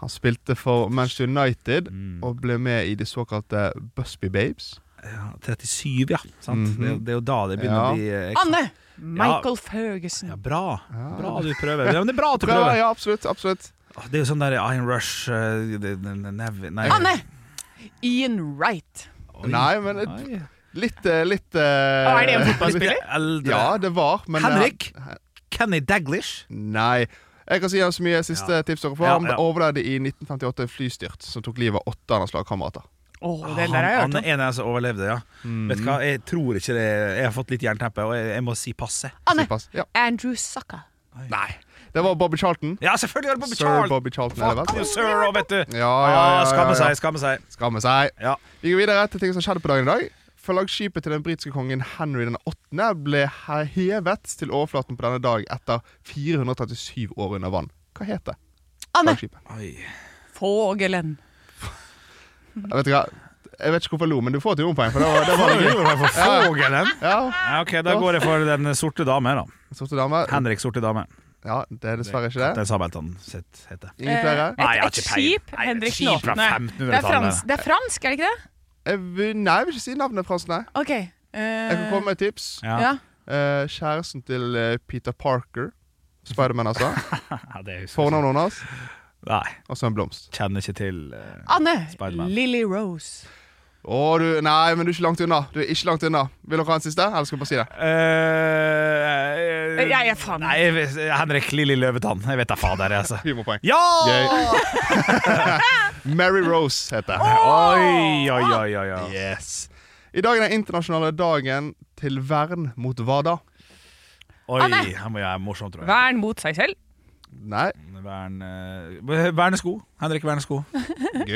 [SPEAKER 6] Han spilte for Manchester United
[SPEAKER 2] Mm.
[SPEAKER 6] og ble med i de såkalte Busby Babes.
[SPEAKER 2] Ja, 37, ja. Sant? det, er- det er jo da det begynner
[SPEAKER 6] Ja.
[SPEAKER 2] å bli eh, ekstra-
[SPEAKER 3] Anne! Michael Ferguson.
[SPEAKER 2] Ja, bra. Bra du prøver. Ja, men det er bra at du
[SPEAKER 6] Ja,
[SPEAKER 2] prøver.
[SPEAKER 6] ja, absolutt. absolutt.
[SPEAKER 2] Åh, Det er jo sånn der Iron Rush eh, det- det- det- Nev... Ah, Nei.
[SPEAKER 3] Anne! Ian Wright.
[SPEAKER 2] Oi.
[SPEAKER 6] Nei, men et-
[SPEAKER 2] Nei.
[SPEAKER 6] litt, eh, litt eh,
[SPEAKER 3] Å, er det en fotballspiller?
[SPEAKER 2] Litt Eldre.
[SPEAKER 6] *laughs* Ja, det var, men eh,
[SPEAKER 2] Henrik? Kenny Daglish?
[SPEAKER 6] Nei. Jeg kan si hans mye siste
[SPEAKER 2] Ja.
[SPEAKER 6] tips dere får.
[SPEAKER 2] Ja,
[SPEAKER 6] Han
[SPEAKER 2] ja.
[SPEAKER 6] overlevde i 1958 en flystyrt som tok livet av åtte av hans lagkamerater.
[SPEAKER 3] Oh,
[SPEAKER 2] Han,
[SPEAKER 3] det der har jeg
[SPEAKER 2] han er
[SPEAKER 3] hørt om.
[SPEAKER 2] en av dem som overlevde, ja.
[SPEAKER 6] Mm.
[SPEAKER 2] Vet du hva, jeg tror ikke det Jeg har fått litt jernteppe, og jeg, jeg må si passe.
[SPEAKER 3] Anne!
[SPEAKER 6] Pass. Ja.
[SPEAKER 3] Andrew Sucka.
[SPEAKER 6] Nei. Det var Bobby Charlton.
[SPEAKER 2] Ja, selvfølgelig er det Bobby
[SPEAKER 6] Sir
[SPEAKER 2] Charlton!
[SPEAKER 6] Bobby Charlton. er det
[SPEAKER 2] Fuck
[SPEAKER 6] vel?
[SPEAKER 2] you, sir, og vet du.
[SPEAKER 6] Ja, ja, ja,
[SPEAKER 2] Ah, Skamme
[SPEAKER 6] ja, ja.
[SPEAKER 2] seg, skamme seg.
[SPEAKER 6] Skamme seg.
[SPEAKER 2] Ja.
[SPEAKER 6] Vi går videre til ting som skjedde på dagen i dag. Flaggskipet til den britiske kongen Henry den 8. ble he- hevet til overflaten på denne dag etter 437 år under vann. Hva het det?
[SPEAKER 3] Anne!
[SPEAKER 6] Flaggskipet.
[SPEAKER 3] Fogelen.
[SPEAKER 6] Jeg vet, ikke, hva- jeg vet ikke hvorfor jeg lo, men du får et humorpoeng. For det var, det var litt gøy.
[SPEAKER 2] Fogelen?
[SPEAKER 6] Ja,
[SPEAKER 2] Ja, ok, Da går jeg for den sorte dame, da.
[SPEAKER 6] Sorte dame.
[SPEAKER 2] Henrik Sorte dame.
[SPEAKER 6] Ja, det er dessverre ikke det.
[SPEAKER 2] Den Sabeltann sitt heter.
[SPEAKER 6] Ingen flere?
[SPEAKER 2] Nei, jeg har
[SPEAKER 3] et
[SPEAKER 2] ikke peiling.
[SPEAKER 3] skip,
[SPEAKER 2] Nei, et
[SPEAKER 3] Henrik
[SPEAKER 2] skip fra
[SPEAKER 3] Nåtene. Det er,
[SPEAKER 2] 1500-tallet.
[SPEAKER 3] frans, det er fransk, er det ikke det?
[SPEAKER 6] Jeg vil, nei, jeg vil ikke si navnet Frans, nei.
[SPEAKER 3] Ok. eh,
[SPEAKER 6] Jeg kan komme med et tips.
[SPEAKER 2] Ja.
[SPEAKER 3] ja.
[SPEAKER 6] Eh, kjæresten til eh, Peter Parker, Spiderman altså,
[SPEAKER 2] *laughs* Ja, det husker jeg ikke.
[SPEAKER 6] fornavnet hennes,
[SPEAKER 2] Nei,
[SPEAKER 6] og så en blomst.
[SPEAKER 2] kjenner ikke til eh,
[SPEAKER 3] Anne!
[SPEAKER 2] Spiderman.
[SPEAKER 3] Lily Rose.
[SPEAKER 6] Å, du, nei, men du er ikke langt unna. Du er ikke langt unna. Vil dere ha en siste, eller skal jeg bare si det?
[SPEAKER 2] eh, eh,
[SPEAKER 3] Jeg er faen-
[SPEAKER 2] Nei, jeg vet- Henrik Lilly Løvetann. Jeg vet da fader,
[SPEAKER 6] *laughs*
[SPEAKER 2] jeg, altså.
[SPEAKER 6] Humorpoeng.
[SPEAKER 2] Ja!
[SPEAKER 6] Gøy. Mary Rose heter det.
[SPEAKER 2] Oi, oi, oi, oi, oi.
[SPEAKER 6] Yes. I dag er den internasjonale dagen til vern mot hva da?
[SPEAKER 2] Oi,
[SPEAKER 3] Anne!
[SPEAKER 2] her må jeg være morsom, tror jeg.
[SPEAKER 3] Vern mot seg selv.
[SPEAKER 6] Nei,
[SPEAKER 2] Vern, eh, vernesko. Henrik Vernesko.
[SPEAKER 6] gøy.
[SPEAKER 2] Ja,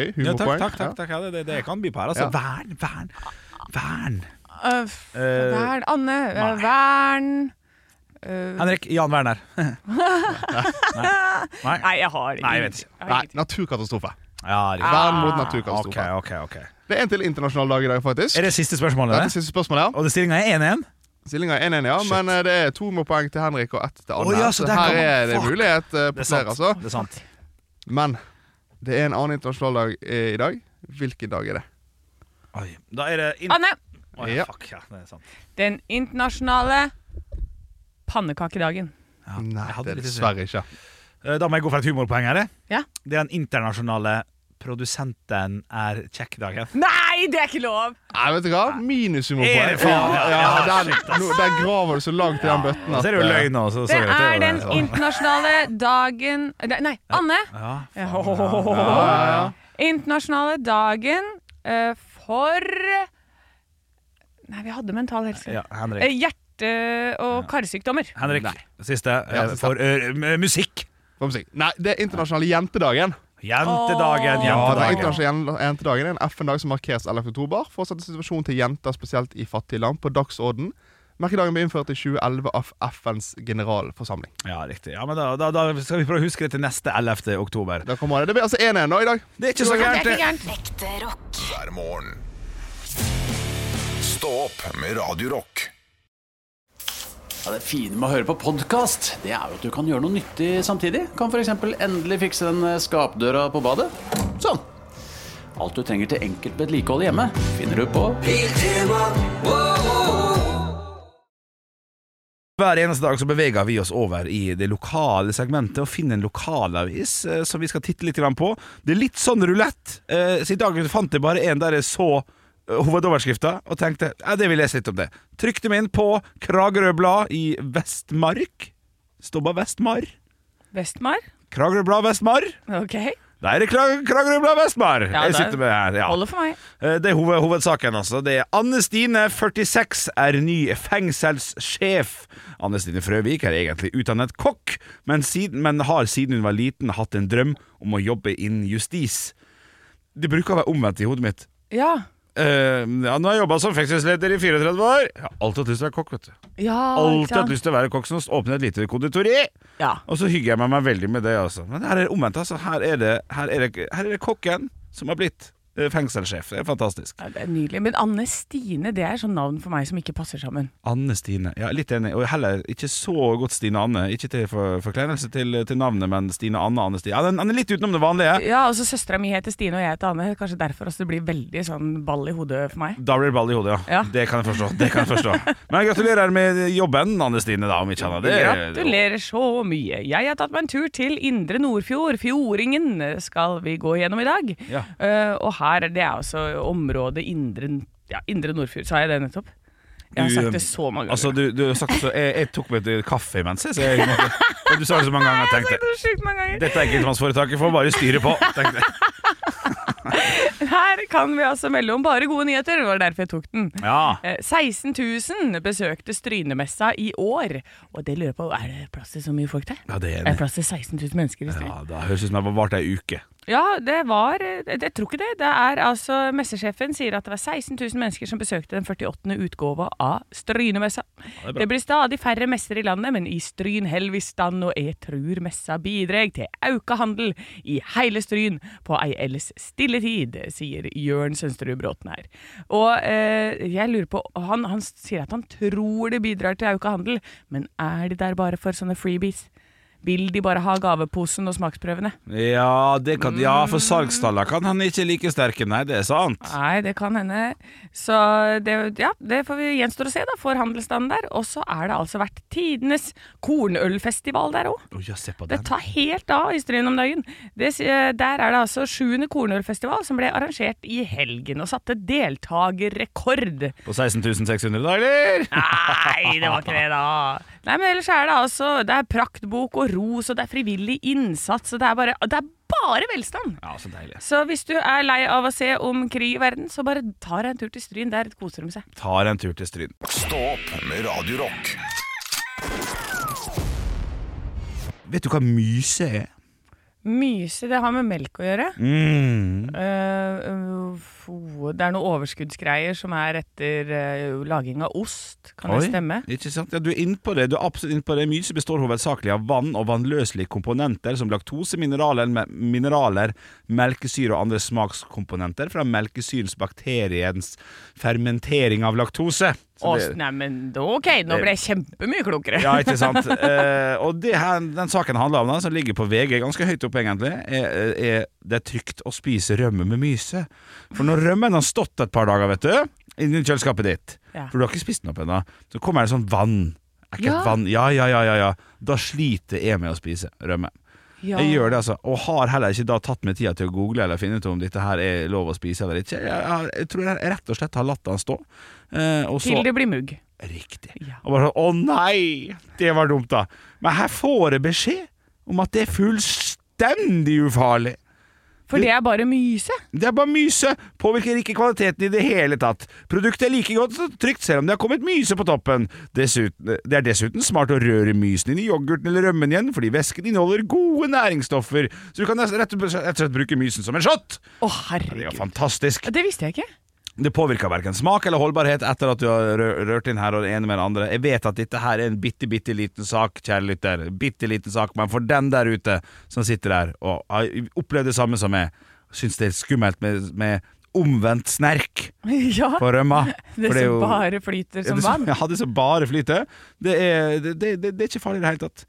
[SPEAKER 2] takk,
[SPEAKER 6] Humorpoeng.
[SPEAKER 2] takk, takk, takk. Ja, det, det, det kan by på her, altså.
[SPEAKER 6] Ja.
[SPEAKER 2] Vern, vern, vern.
[SPEAKER 3] Øh, f-
[SPEAKER 2] Eh,
[SPEAKER 3] vern Anne. eh,
[SPEAKER 2] nei.
[SPEAKER 3] vern øh,
[SPEAKER 2] Henrik Jan Werner. *laughs* Nei.
[SPEAKER 3] Nei, jeg har
[SPEAKER 2] Nei, jeg vet ikke.
[SPEAKER 6] Ja. Nei, naturkatastrofe.
[SPEAKER 2] Ja, riktig.
[SPEAKER 6] Vern mot
[SPEAKER 2] Ah, OK,
[SPEAKER 6] naturkatastrofe.
[SPEAKER 2] OK. ok
[SPEAKER 6] Det er en til internasjonal dag i dag, faktisk.
[SPEAKER 2] Er det siste spørsmålet?
[SPEAKER 6] Dette er
[SPEAKER 2] det?
[SPEAKER 6] siste spørsmål, ja.
[SPEAKER 2] Og det stillinga er 1-1?
[SPEAKER 6] Stillinga er 1-1, ja,
[SPEAKER 2] Shit.
[SPEAKER 6] men eh, det er to med poeng til Henrik og ett til Anne.
[SPEAKER 2] Å, ja, så
[SPEAKER 6] så
[SPEAKER 2] der kan
[SPEAKER 6] her
[SPEAKER 2] man-
[SPEAKER 6] er det
[SPEAKER 2] fuck.
[SPEAKER 6] mulighet eh,
[SPEAKER 2] Det
[SPEAKER 6] på
[SPEAKER 2] er
[SPEAKER 6] flere,
[SPEAKER 2] sant.
[SPEAKER 6] altså.
[SPEAKER 2] Det er sant.
[SPEAKER 6] Men det er en annen internasjonal dag eh, i dag. Hvilken dag er det?
[SPEAKER 2] Oi. Da er det inn...
[SPEAKER 3] Anne!
[SPEAKER 2] Å, ja,
[SPEAKER 6] Ja.
[SPEAKER 2] fuck, ja, det er sant.
[SPEAKER 3] Den internasjonale pannekakedagen.
[SPEAKER 2] Ja,
[SPEAKER 6] Nei,
[SPEAKER 2] jeg hadde
[SPEAKER 6] det er
[SPEAKER 2] litt å si.
[SPEAKER 6] dessverre ikke.
[SPEAKER 2] Eh, Da må jeg gå for et humorpoeng her. jeg.
[SPEAKER 3] Ja.
[SPEAKER 2] Det er den internasjonale produsenten er kjekk dagen.
[SPEAKER 3] Nei, det er ikke lov!
[SPEAKER 6] Nei, vet du hva? Minus
[SPEAKER 2] Er
[SPEAKER 6] humorpoeng.
[SPEAKER 2] det faen?
[SPEAKER 6] Ja, ja, den, nå- den graver du så langt i den bøtten
[SPEAKER 2] Og
[SPEAKER 6] at
[SPEAKER 2] så er det jo
[SPEAKER 6] eh,
[SPEAKER 2] løgn også.
[SPEAKER 3] Det
[SPEAKER 2] sorry,
[SPEAKER 3] er
[SPEAKER 2] jo
[SPEAKER 3] den
[SPEAKER 2] det, så.
[SPEAKER 3] internasjonale dagen Nei, Nei, Anne!
[SPEAKER 2] Ja,
[SPEAKER 3] Internasjonale dagen eh, for Nei, vi hadde mental helse.
[SPEAKER 2] ja, Henrik.
[SPEAKER 3] Eh, Hjerte- og karsykdommer.
[SPEAKER 2] Henrik, siste. eh,
[SPEAKER 6] Ja, siste.
[SPEAKER 2] For ø, m- musikk.
[SPEAKER 6] Hva må jeg si? Nei, det er internasjonale jentedagen.
[SPEAKER 2] Jentedagen,
[SPEAKER 6] Ja, den
[SPEAKER 2] jentedagen.
[SPEAKER 6] internasjonale jen- jentedagen er en FN-dag som markeres 11. oktober for å sette situasjonen til jenter, spesielt i fattige land, på dagsorden. Merkedagen ble innført i 2011 av FNs generalforsamling.
[SPEAKER 2] Ja, riktig. Ja, men da, da, da skal vi prøve å huske det til neste 11. oktober.
[SPEAKER 6] Der kommer det. Det blir altså 1-1 nå i dag.
[SPEAKER 2] Det er ikke så gærent. det.
[SPEAKER 4] Ekte rock.
[SPEAKER 1] hver morgen. Stå opp med Radio Rock.
[SPEAKER 7] Ja, det fine med å høre på podkast, det er jo at du kan gjøre noe nyttig samtidig. Kan f.eks. endelig fikse den eh, skapdøra på badet. Sånn. Alt du trenger til enkelt vedlikehold hjemme, finner du på
[SPEAKER 2] Hver eneste dag så beveger vi oss over i det lokale segmentet og finner en lokalavis eh, som vi skal titte litt grann på. Det er litt sånn rulett. Eh, så I dag fant jeg bare en der jeg så eh, hovedoverskrifta og tenkte ja, det vil jeg lese litt om det. Trykte meg inn på Kragerø Blad i Vestmark. Står bare Vestmar.
[SPEAKER 3] Vestmar.
[SPEAKER 2] Kragerø Blad Vestmar.
[SPEAKER 3] Ok.
[SPEAKER 2] Da er det Kra- Kragerø Blad Vestmar!
[SPEAKER 3] Ja,
[SPEAKER 2] jeg
[SPEAKER 3] det
[SPEAKER 2] sitter med her. Ja.
[SPEAKER 3] Holder for meg.
[SPEAKER 2] Eh, Det er hoved, hovedsaken, altså. Det er Anne Stine, 46, er ny fengselssjef. Anne Stine Frøvik er egentlig utdannet kokk, men, siden, men har siden hun var liten hatt en drøm om å jobbe innen justis. Det bruker å være omvendt i hodet mitt.
[SPEAKER 3] Ja.
[SPEAKER 2] Eh, ja, nå har jeg jobba som fengselsleder i 34 år. Jeg har alltid hatt lyst til å være kokk. vet du
[SPEAKER 3] ja
[SPEAKER 2] Alltid hatt lyst til å være kokk som åpner et lite konditori.
[SPEAKER 3] Ja.
[SPEAKER 2] Og så hygger jeg meg, meg veldig med det også. Men her er det omvendt. altså Her er det, her er det, her er det kokken som har blitt eh, fengselssjef. Det er fantastisk.
[SPEAKER 3] Ja, Det er nydelig. Men Anne Stine det er sånn navn for meg som ikke passer sammen.
[SPEAKER 2] Anne Stine. Ja, litt enig. Og heller ikke så godt Stine Anne. Ikke til for, forkleinelse til, til navnet, men Stine Anne Anne Stine. Ja, den, den er litt utenom det vanlige.
[SPEAKER 3] Ja, altså Søstera mi heter Stine, og jeg heter Anne. Kanskje derfor også det blir veldig sånn ball i hodet for meg.
[SPEAKER 2] Da blir det ball i hodet, ja.
[SPEAKER 3] Ja.
[SPEAKER 2] Det kan jeg forstå. det kan jeg forstå Men jeg gratulerer med jobben, Anne Stine, da, om ikke annet. Det-
[SPEAKER 3] Gratulerer så mye. Jeg har tatt meg en tur til Indre Nordfjord. Fjordingen skal vi gå gjennom i dag.
[SPEAKER 2] Ja.
[SPEAKER 3] Eh, og her, det er altså området Indre, ja, Indre Nordfjord. Sa jeg det nettopp? Jeg har
[SPEAKER 2] Du,
[SPEAKER 3] sagt det så mange ganger.
[SPEAKER 2] Altså, du, du har sagt så jeg, jeg tok meg et kaffe imens, jeg, så jeg måtte, Du sa det så mange ganger,
[SPEAKER 3] jeg har sagt
[SPEAKER 2] tenkte
[SPEAKER 3] det sjukt mange ganger.
[SPEAKER 2] Dette enkeltmannsforetaket får bare styre på, tenkte jeg.
[SPEAKER 3] Her kan vi altså melde om bare gode nyheter. Det var derfor jeg tok den.
[SPEAKER 2] Ja.
[SPEAKER 3] Eh, 16 000 besøkte Strynemessa i år. Og det lurer jeg på, er det plass til så mye folk der?
[SPEAKER 2] Ja, det er
[SPEAKER 3] Er det
[SPEAKER 2] enig.
[SPEAKER 3] plass til 16 000 mennesker i Stryn?
[SPEAKER 2] Ja, da høres ut som jeg har vart ei uke.
[SPEAKER 3] Ja, det var eh, det- Jeg tror ikke det. Det er altså Messesjefen sier at det var 16 000 mennesker som besøkte den 48. utgåva av Strynemessa.
[SPEAKER 2] er bra.
[SPEAKER 3] det, blir stadig færre messer i landet, men i Stryn holder vi stand, og jeg trur messa bidreg til auka handel i heile Stryn på ei ellers stille tid, sier Jørn Sønsterud Bråten her. Og eh, jeg lurer på han, han sier at han tror det bidrar til auka handel, men er de der bare for sånne freebies? Vil de bare ha gaveposen og smaksprøvene?
[SPEAKER 2] Ja, det kan, ja for salgstallene kan han ikke like sterke, nei, det er sant.
[SPEAKER 3] Nei, det kan hende. Så det, ja, det får vi gjenstår å se, da, for handelsstanden der. Og så er det altså vært tidenes kornølfestival der òg.
[SPEAKER 2] Å, ja, se på
[SPEAKER 3] Det
[SPEAKER 2] den.
[SPEAKER 3] tar helt av i Stryn om dagen. Det, s- eh, der er det altså sjuende kornølfestival som ble arrangert i helgen og satte deltagerrekord.
[SPEAKER 2] På 16.600 dager!
[SPEAKER 3] Nei, det var ikke det, da. Nei, men ellers er det altså Det er praktbok og ros, og det er frivillig innsats, og det er bare, det er bare velstand.
[SPEAKER 2] Ja, så deilig.
[SPEAKER 3] Så hvis du er lei av å se om krig i verden, så bare tar jeg en tur til Stryn. Der koser de seg.
[SPEAKER 2] Tar en tur til Stryn.
[SPEAKER 1] Stå opp med Radio Rock.
[SPEAKER 2] Vet du hva myse er?
[SPEAKER 3] Myse, det har med melk å gjøre.
[SPEAKER 2] Mm.
[SPEAKER 3] Eh, uff, oh, det er noen overskuddsgreier som er etter eh, laging av ost, kan det stemme?
[SPEAKER 2] Ikke sant? Ja, du er innpå det. Du er absolutt innpå det. Myse består hovedsakelig av vann og vannløselige komponenter som laktose, mineraler, me- mineraler melkesyre og andre smakskomponenter fra melkesyrens bakteriens fermentering av laktose. Så
[SPEAKER 3] Ås,
[SPEAKER 2] det-
[SPEAKER 3] nei, men da, ok, nå ble jeg kjempemye klokere.
[SPEAKER 2] Ja, ikke sant. Eh, og det her, den saken handler om, da, som ligger på VG, ganske høyt oppe egentlig, er, er det er trygt å spise rømme med myse. For når rømmen har stått et par dager, vet du, inni kjøleskapet ditt,
[SPEAKER 3] Ja.
[SPEAKER 2] for du har ikke spist den opp ennå, så kommer det sånn vann. Ekkelt
[SPEAKER 3] Ja.
[SPEAKER 2] vann. Ja, ja, ja, ja, ja. Da sliter jeg med å spise rømme.
[SPEAKER 3] Ja.
[SPEAKER 2] Jeg gjør det altså Og har heller ikke da tatt meg tida til å google eller finne ut om dette her er lov å spise eller ikke. Jeg, har- jeg tror jeg rett og slett har latt den stå. Eh, og så
[SPEAKER 3] Til det blir mugg.
[SPEAKER 2] Riktig.
[SPEAKER 3] Ja.
[SPEAKER 2] Og bare sånn Å nei! Det var dumt, da. Men her får jeg beskjed om at det er fullstendig ufarlig.
[SPEAKER 3] For det er bare myse.
[SPEAKER 2] Det er bare myse. Påvirker ikke kvaliteten i det hele tatt. Produktet er like godt og trygt selv om det har kommet myse på toppen. Dessuten, det er dessuten smart å røre mysen inn i yoghurten eller rømmen igjen, fordi væsken inneholder gode næringsstoffer, så du kan nesten rett og slett rett og slett bruke mysen som en shot. Det
[SPEAKER 3] Å,
[SPEAKER 2] er jo
[SPEAKER 3] herregud.
[SPEAKER 2] fantastisk.
[SPEAKER 3] Det visste jeg ikke.
[SPEAKER 2] Det påvirker hverken smak eller holdbarhet etter at du har rø- rørt inn her og det ene med det andre. Jeg vet at dette her er en bitte, bitte liten sak, kjære lytter. Bitte liten sak, men for den der ute som sitter der og har opplevd det samme som meg, syns det er skummelt med, med omvendt snerk
[SPEAKER 3] *laughs* Ja,
[SPEAKER 2] på rømma.
[SPEAKER 3] det
[SPEAKER 2] For er
[SPEAKER 3] som
[SPEAKER 2] jo-
[SPEAKER 3] bare flyter
[SPEAKER 2] Ja,
[SPEAKER 3] som
[SPEAKER 2] det som- *laughs*
[SPEAKER 3] vann.
[SPEAKER 2] Ja, det som bare flyter. Det er, det, det, det, det er ikke farlig i det hele tatt.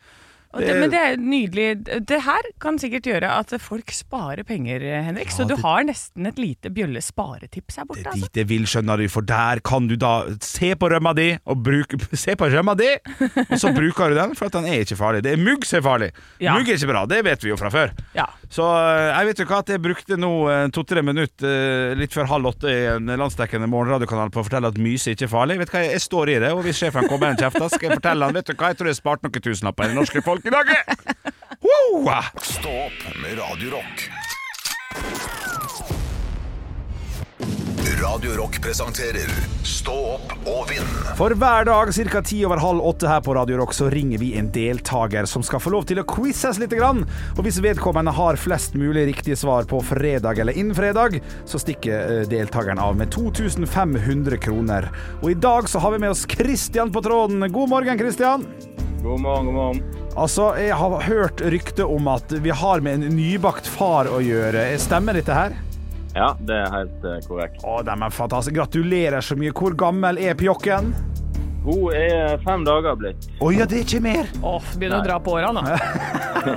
[SPEAKER 3] Og det, men det er nydelig. Det her kan sikkert gjøre at folk sparer penger, eh, Henrik. så du
[SPEAKER 2] det-
[SPEAKER 3] har nesten et lite bjølle sparetips her
[SPEAKER 2] Det
[SPEAKER 3] borte.
[SPEAKER 2] er
[SPEAKER 3] Altså.
[SPEAKER 2] dit jeg vil, skjønner du, for der kan du da se på rømma di, og bruke, *laughs* se på rømma di, og så bruker du den, for at den er ikke farlig. Det er mugg som er farlig.
[SPEAKER 3] Ja.
[SPEAKER 2] Mugg er ikke bra, det vet vi jo fra før.
[SPEAKER 3] Ja.
[SPEAKER 2] Så eh, jeg vet jo hva at jeg brukte nå eh, to-tre minutter eh, litt før halv åtte i en landsdekkende morgenradiokanal på å fortelle at myse ikke er farlig. Vet du hva, jeg står i det, og hvis sjefen kommer med en kjefta, skal jeg fortelle han, vet du hva, jeg tror jeg har spart noen tusenlapper i det norske folk i dag. jeg. Wow!
[SPEAKER 1] Stå opp med Radio Rock. Radio Rock presenterer Stå opp og vinn.
[SPEAKER 2] For hver dag ca. ti over halv åtte her på Radio Rock så ringer vi en deltaker som skal få lov til å quizes litt. Grann. Og hvis vedkommende har flest mulig riktige svar på fredag eller innen fredag, så stikker eh, deltakeren av med 2500 kroner. Og i dag så har vi med oss Christian på tråden. God morgen, Christian.
[SPEAKER 5] God morgen, god morgen.
[SPEAKER 2] Altså, jeg har hørt rykte om at vi har med en nybakt far å gjøre. Stemmer dette her?
[SPEAKER 5] Ja, det er helt eh, korrekt.
[SPEAKER 2] Å, de er fantastiske. Gratulerer så mye. Hvor gammel er pjokken?
[SPEAKER 5] Hun er fem dager blitt.
[SPEAKER 2] Å ja, det er ikke mer.
[SPEAKER 3] Åh, begynner å dra på årene, da.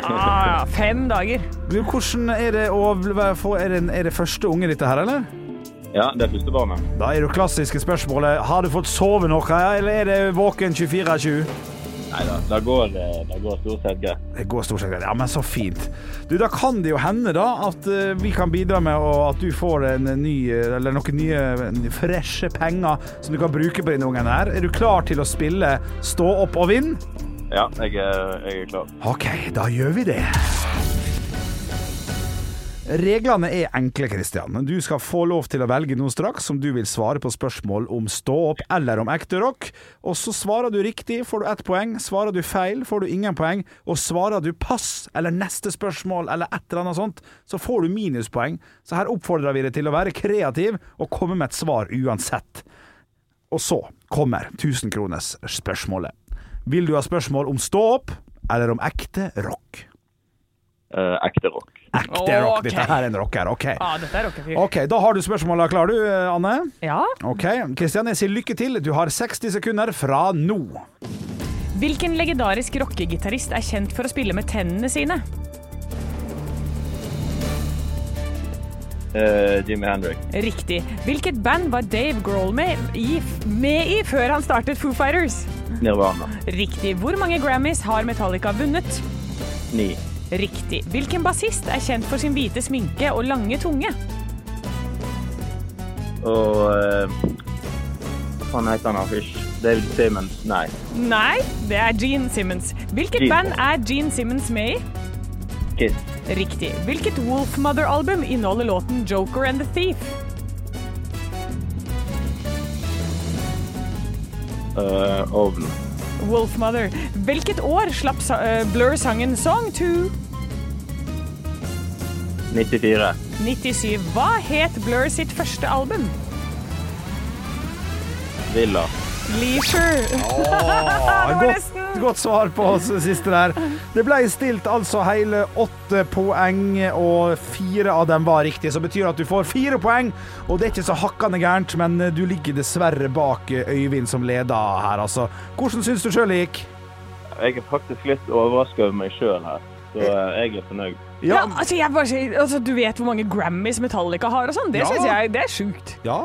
[SPEAKER 3] ah, ja, fem dager.
[SPEAKER 2] Du, Hvordan er det å få er det, er det første unge dette her, eller?
[SPEAKER 5] Ja, det er første barnet.
[SPEAKER 2] Da er det jo klassiske spørsmålet Har du fått sove noe, eller er det våken 24-20?
[SPEAKER 5] Nei da, det går, eh, det går stort sett greit.
[SPEAKER 2] Det går stort sett greit. Ja, men så fint. Du, Da kan det jo hende da at eh, vi kan bidra med å- at du får en ny, eh, eller noen nye eh, freshe penger som du kan bruke på denne ungen her. Er du klar til å spille Stå opp og vinn?
[SPEAKER 5] Ja, jeg er, jeg er klar.
[SPEAKER 2] OK, da gjør vi det. Reglene er enkle, Kristian. Du skal få lov til å velge noe straks om du vil svare på spørsmål om stå opp eller om ekte rock. Og så svarer du riktig, får du ett poeng. Svarer du feil, får du ingen poeng. Og svarer du pass eller neste spørsmål eller et eller annet sånt, så får du minuspoeng. Så her oppfordrer vi deg til å være kreativ og komme med et svar uansett. Og så kommer 1000 kroners spørsmålet. Vil du ha spørsmål om stå opp eller om ekte rock?
[SPEAKER 5] Eh, ekte rock.
[SPEAKER 2] Ekte rock.
[SPEAKER 3] Ok.
[SPEAKER 2] Dette her er en rocker, OK.
[SPEAKER 3] Ah, dette er rockefyr.
[SPEAKER 2] Ok, Da har du spørsmåla klare, du, eh, Anne.
[SPEAKER 3] Ja.
[SPEAKER 2] Ok, Kristian, jeg sier lykke til. Du har 60 sekunder fra nå.
[SPEAKER 3] Hvilken legendarisk rockegitarist er kjent for å spille med tennene sine?
[SPEAKER 5] Eh, Jimmy Hendrik.
[SPEAKER 3] Riktig. Hvilket band var Dave Grohl med i, med i før han startet Foo Fighters?
[SPEAKER 5] Nirvana.
[SPEAKER 3] Riktig. Hvor mange Grammys har Metallica vunnet?
[SPEAKER 5] Ni.
[SPEAKER 3] Riktig. Hvilken bassist er kjent for sin hvite sminke og lange tunge?
[SPEAKER 5] Og eh, Hva faen heter han? da? Ish. David Simmons. Nei.
[SPEAKER 3] Nei, det er Gene Simmons. Hvilket
[SPEAKER 5] Gene.
[SPEAKER 3] band er Gene Simmons med i?
[SPEAKER 5] Kiss.
[SPEAKER 3] Riktig. Hvilket Wolfmother-album inneholder låten 'Joker and the Thief'?
[SPEAKER 5] Eh, Oven.
[SPEAKER 3] Wolfmother. Hvilket år slapp sa eh, Blur sangen 'Song 2'?
[SPEAKER 5] 94.
[SPEAKER 3] 97. Hva het Blur sitt første album?
[SPEAKER 5] Villa.
[SPEAKER 3] Leisure. *laughs* det var
[SPEAKER 2] Godt,
[SPEAKER 3] nesten.
[SPEAKER 2] godt svar på oss siste der. Det ble stilt altså hele åtte poeng, og fire av dem var riktige. Så betyr at du får fire poeng, og det er ikke så hakkande gærent, men du ligger dessverre bak Øyvind som leder her, altså. Hvordan syns du sjøl det gikk?
[SPEAKER 5] Jeg er faktisk litt overraska over meg sjøl her, så eh, jeg er fornøyd.
[SPEAKER 3] Ja, altså, jeg bare, sier- altså, du vet hvor mange Grammys Metallica har og sånn. Det
[SPEAKER 2] Ja.
[SPEAKER 3] synes jeg det er sjukt.
[SPEAKER 2] ja.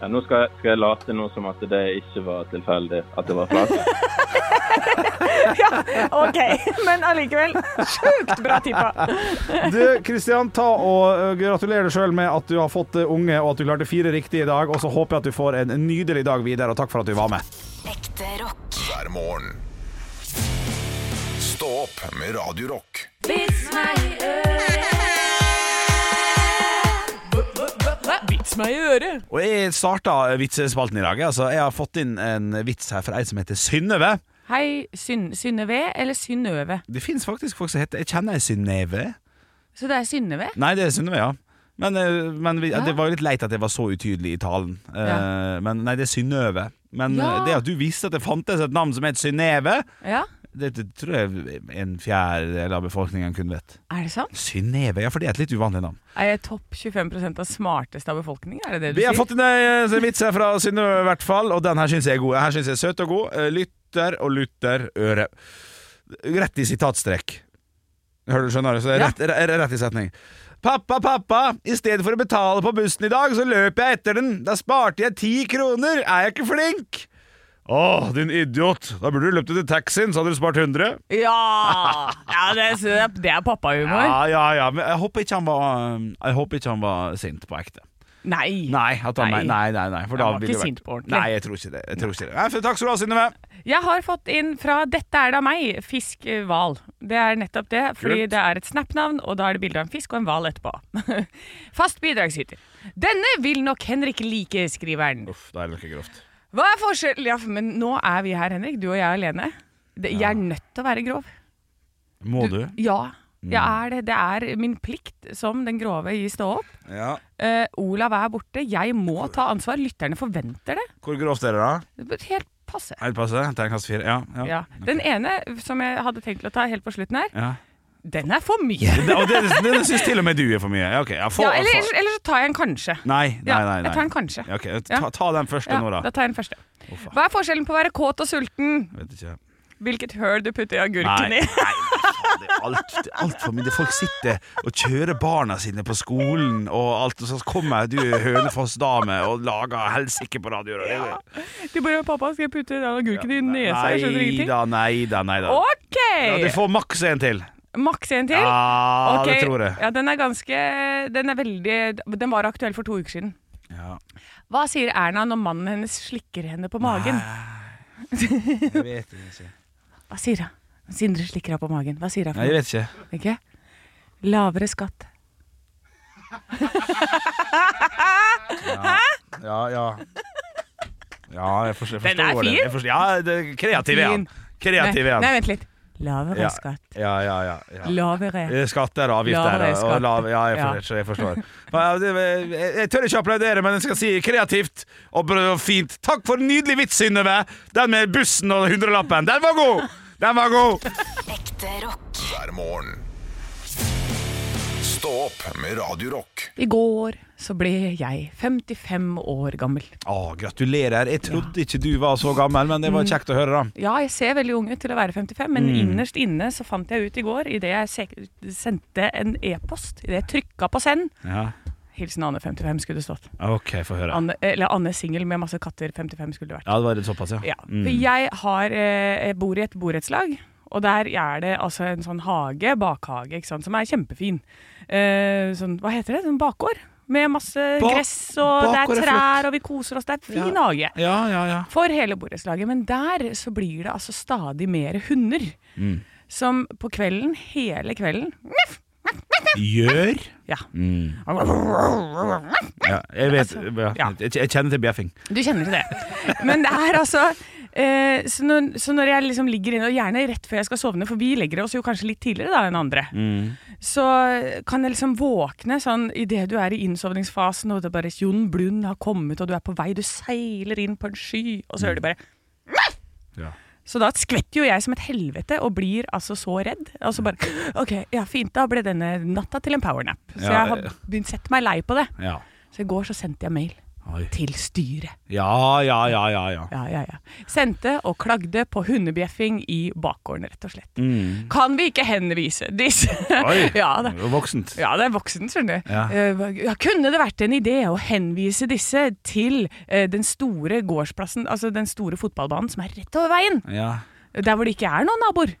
[SPEAKER 5] Ja, nå skal jeg, skal jeg late nå som at det ikke var tilfeldig at det var flaks.
[SPEAKER 3] *laughs*
[SPEAKER 8] OK, men allikevel sjukt bra tippa.
[SPEAKER 2] Du, Kristian, ta og eh, gratulerer deg sjøl med at du har fått eh, unge, og at du klarte fire riktige i dag. Og så håper jeg at du får en nydelig dag videre, og takk for at du var med.
[SPEAKER 4] Ekte rock.
[SPEAKER 1] hver morgen. Stå opp med Radio Rock.
[SPEAKER 3] Vits meg i øret!
[SPEAKER 2] Og jeg starta vitsespalten i dag. Altså, jeg har fått inn en vits her fra ei som heter Synnøve.
[SPEAKER 3] Hei, Syn Synnøve eller Synnøve?
[SPEAKER 2] Det fins faktisk folk som heter Jeg kjenner ei Synnøve.
[SPEAKER 3] Så det er Synnøve?
[SPEAKER 2] Nei, det er Synnøve, ja. Men, eh, men vi, det var jo litt leit at jeg var så utydelig i talen. Eh,
[SPEAKER 3] Ja.
[SPEAKER 2] Men nei, det er Synnøve. Men
[SPEAKER 3] Ja.
[SPEAKER 2] eh, det at du visste at det fantes et navn som het Synnøve,
[SPEAKER 3] Ja.
[SPEAKER 2] det, det tror jeg en fjerdedel av befolkningen kunne vett.
[SPEAKER 3] Er det sant?
[SPEAKER 2] Synnøve, ja, for det er et litt uvanlig navn.
[SPEAKER 3] Er jeg topp 25 av smarteste av befolkningen? Er det det du
[SPEAKER 2] Vi har
[SPEAKER 3] sier?
[SPEAKER 2] fått inn en eh, vits her fra Synnøve i hvert fall, og den her syns jeg er god. Her syns jeg er søt og god. Eh, Lytter og lutter øre. Rett i sitatstrek. Hører du, skjønner du? Så det er
[SPEAKER 3] Ja.
[SPEAKER 2] rett, re- re- rett i setning. Pappa, pappa, i stedet for å betale på bussen i dag, så løp jeg etter den. Da sparte jeg ti kroner. Er jeg ikke flink? Å, din idiot. Da burde du løpt etter taxien, så hadde du spart 100.
[SPEAKER 3] Ja! ja det, er, det er pappahumor.
[SPEAKER 2] Ja, ja, ja. Men jeg håper ikke han var, eh, jeg håper ikke han var sint på ekte.
[SPEAKER 3] Nei.
[SPEAKER 2] Nei, at han, nei.
[SPEAKER 3] Nei.
[SPEAKER 2] nei, nei, nei, for da
[SPEAKER 3] Han var
[SPEAKER 2] ville det
[SPEAKER 3] ikke
[SPEAKER 2] vært-
[SPEAKER 3] sint på ordentlig.
[SPEAKER 2] Nei, jeg tror ikke det. Jeg tror ikke det. Nei, for takk skal du ha, Synnøve.
[SPEAKER 3] Jeg har fått inn fra 'Dette er da meg' fisk eh, hval. Det er nettopp det, fordi det er et Snap-navn, og da er det bilde av en fisk og en hval etterpå. *laughs* Fast bidragsyter. Denne vil nok Henrik like, skriver han.
[SPEAKER 2] Uff, da er det noe grovt.
[SPEAKER 3] Hva er forskjellen Ja, men nå er vi her, Henrik. Du og jeg alene. Det, jeg er nødt til å være grov.
[SPEAKER 2] Må du?
[SPEAKER 3] Ja,
[SPEAKER 2] Mm.
[SPEAKER 3] jeg er det. Det er min plikt som den grove i Stå opp.
[SPEAKER 2] Ja.
[SPEAKER 3] Eh, Olav er borte. Jeg må ta ansvar. Lytterne forventer det.
[SPEAKER 2] Hvor grovt er det, da?
[SPEAKER 3] Det blir Helt passe.
[SPEAKER 2] Helt passe. Terningkast fire. Ja. ja.
[SPEAKER 3] Ja. Den ene som jeg hadde tenkt å ta helt på slutten her,
[SPEAKER 2] Ja.
[SPEAKER 3] den er for mye.
[SPEAKER 2] Det, og det, det, det syns til og med du er for mye. Ja, ok. Ja, få-
[SPEAKER 3] Ja, eller,
[SPEAKER 2] få-
[SPEAKER 3] eller, eller så tar jeg en kanskje.
[SPEAKER 2] Nei, nei,
[SPEAKER 3] Ja,
[SPEAKER 2] nei. nei.
[SPEAKER 3] jeg tar en kanskje.
[SPEAKER 2] Ja, ok. ta, ta den første
[SPEAKER 3] Ja,
[SPEAKER 2] nå, da.
[SPEAKER 3] da tar jeg den første.
[SPEAKER 2] faen.
[SPEAKER 3] Hva er forskjellen på å være kåt og sulten?
[SPEAKER 2] Jeg vet ikke.
[SPEAKER 3] Hvilket høl du putter i agurken
[SPEAKER 2] Nei.
[SPEAKER 3] i? *laughs*
[SPEAKER 2] nei. Det er alt, det er alt for mye. Folk sitter og kjører barna sine på skolen, og alt, og så kommer du Hønefoss-dame og lager helsike på radioen. og det-
[SPEAKER 3] Du bare 'Pappa, skal jeg putte den agurken i nesa?' Jeg skjønner
[SPEAKER 2] Nei
[SPEAKER 3] ingenting.
[SPEAKER 2] da, nei da, nei da.
[SPEAKER 3] OK!
[SPEAKER 2] Ja, du får maks en til.
[SPEAKER 3] Maks en til.
[SPEAKER 2] Ja,
[SPEAKER 3] Ok,
[SPEAKER 2] det tror jeg.
[SPEAKER 3] Ja, den er ganske Den er veldig Den var aktuell for to uker siden.
[SPEAKER 2] Ja.
[SPEAKER 3] Hva sier Erna når mannen hennes slikker henne på magen?
[SPEAKER 2] Jeg vet ikke.
[SPEAKER 3] Hva sier hun? Sindre slikker henne på magen. Hva sier hun?
[SPEAKER 2] Nei, jeg
[SPEAKER 3] for noe?
[SPEAKER 2] vet ikke.
[SPEAKER 3] Ikke? Lavere skatt.
[SPEAKER 2] Ja, ja. Ja, jeg forstår, jeg
[SPEAKER 3] Den
[SPEAKER 2] forstår
[SPEAKER 3] er
[SPEAKER 2] det.
[SPEAKER 3] fin.
[SPEAKER 2] Jeg forstår, ja, det er kreativ er han.
[SPEAKER 3] Fin.
[SPEAKER 2] Kreativ er
[SPEAKER 3] nei,
[SPEAKER 2] han.
[SPEAKER 3] nei, vent litt. Lavere
[SPEAKER 2] Ja,
[SPEAKER 3] skatt.
[SPEAKER 2] ja, ja, ja, ja.
[SPEAKER 3] Lavere.
[SPEAKER 2] Eh, Skatter og avgifter.
[SPEAKER 3] Lavere
[SPEAKER 2] og-
[SPEAKER 3] skatt.
[SPEAKER 2] Og lav, ja, jeg
[SPEAKER 3] Ja.
[SPEAKER 2] forstår. Jeg, forstår. Ja, det- jeg- jeg tør ikke applaudere, men jeg skal si kreativt og br- og fint. Takk for en nydelig vits, Synnøve! Den med bussen og hundrelappen. Den var god! Den var god!
[SPEAKER 4] Ekte rock.
[SPEAKER 1] hver morgen. Stå opp med Radio Rock.
[SPEAKER 3] I går så ble jeg 55 år gammel.
[SPEAKER 2] Å, gratulerer. Jeg trodde ikke du var så gammel, men det var kjekt å høre, da.
[SPEAKER 3] Ja, jeg ser veldig ung ut til å være 55, men
[SPEAKER 2] Mm.
[SPEAKER 3] innerst inne så fant jeg ut i går, idet jeg sek- sendte en e-post, idet jeg trykka på send
[SPEAKER 2] Ja.
[SPEAKER 3] Hilsen Anne 55 skulle det stått.
[SPEAKER 2] OK, få høre.
[SPEAKER 3] Anne, eller Anne singel med masse katter 55 skulle det vært.
[SPEAKER 2] Ja, det var litt såpass, ja.
[SPEAKER 3] Ja. For jeg har, eh, jeg bor i et borettslag, og der er det altså en sånn hage, bakhage, ikke sant, som er kjempefin. Eh, sånn, hva heter det? Sånn bakgård? Med masse
[SPEAKER 2] Bak-
[SPEAKER 3] gress, og det
[SPEAKER 2] bakgård
[SPEAKER 3] er
[SPEAKER 2] er flott.
[SPEAKER 3] trær, og vi koser oss. Det er en fin hage.
[SPEAKER 2] Ja, ja, ja.
[SPEAKER 3] For hele borettslaget. Men der så blir det altså stadig mer hunder.
[SPEAKER 2] Mm.
[SPEAKER 3] Som på kvelden, hele kvelden
[SPEAKER 2] Gjør?
[SPEAKER 3] Ja.
[SPEAKER 2] Mm. Ja, jeg vet ja. Jeg jeg kjenner til bjeffing.
[SPEAKER 3] Du kjenner til det. Men det er altså eh, så, når, så når jeg liksom ligger inne, og gjerne rett før jeg skal sovne, for vi legger oss jo kanskje litt tidligere da enn andre,
[SPEAKER 2] Mm.
[SPEAKER 3] så kan jeg liksom våkne sånn idet du er i innsovningsfasen, og det er bare Jon Blund har kommet, og du er på vei, du seiler inn på en sky, og så hører du bare
[SPEAKER 2] Ja.
[SPEAKER 3] Så da skvetter jo jeg som et helvete og blir altså så redd. Og så bare OK, ja fint, da ble denne natta til en powernap. Så
[SPEAKER 2] Ja,
[SPEAKER 3] jeg har
[SPEAKER 2] ja.
[SPEAKER 3] begynt sett meg lei på det.
[SPEAKER 2] Ja.
[SPEAKER 3] Så i går så sendte jeg mail
[SPEAKER 2] Oi.
[SPEAKER 3] til styret.
[SPEAKER 2] ja, ja, ja, ja. ja.
[SPEAKER 3] Ja, ja, ja. Sendte og klagde på hundebjeffing i bakgården, rett og slett. Kan vi ikke henvise disse
[SPEAKER 2] Mm. *laughs* Oi,
[SPEAKER 3] *laughs* ja,
[SPEAKER 2] det
[SPEAKER 3] det,
[SPEAKER 2] var voksent.
[SPEAKER 3] ja, det er voksen, skjønner du.
[SPEAKER 2] Ja.
[SPEAKER 3] Eh, ja, kunne det vært en idé å henvise disse til eh, den store gårdsplassen, altså den store fotballbanen som er rett over veien?
[SPEAKER 2] Ja.
[SPEAKER 3] Der hvor det ikke er noen naboer.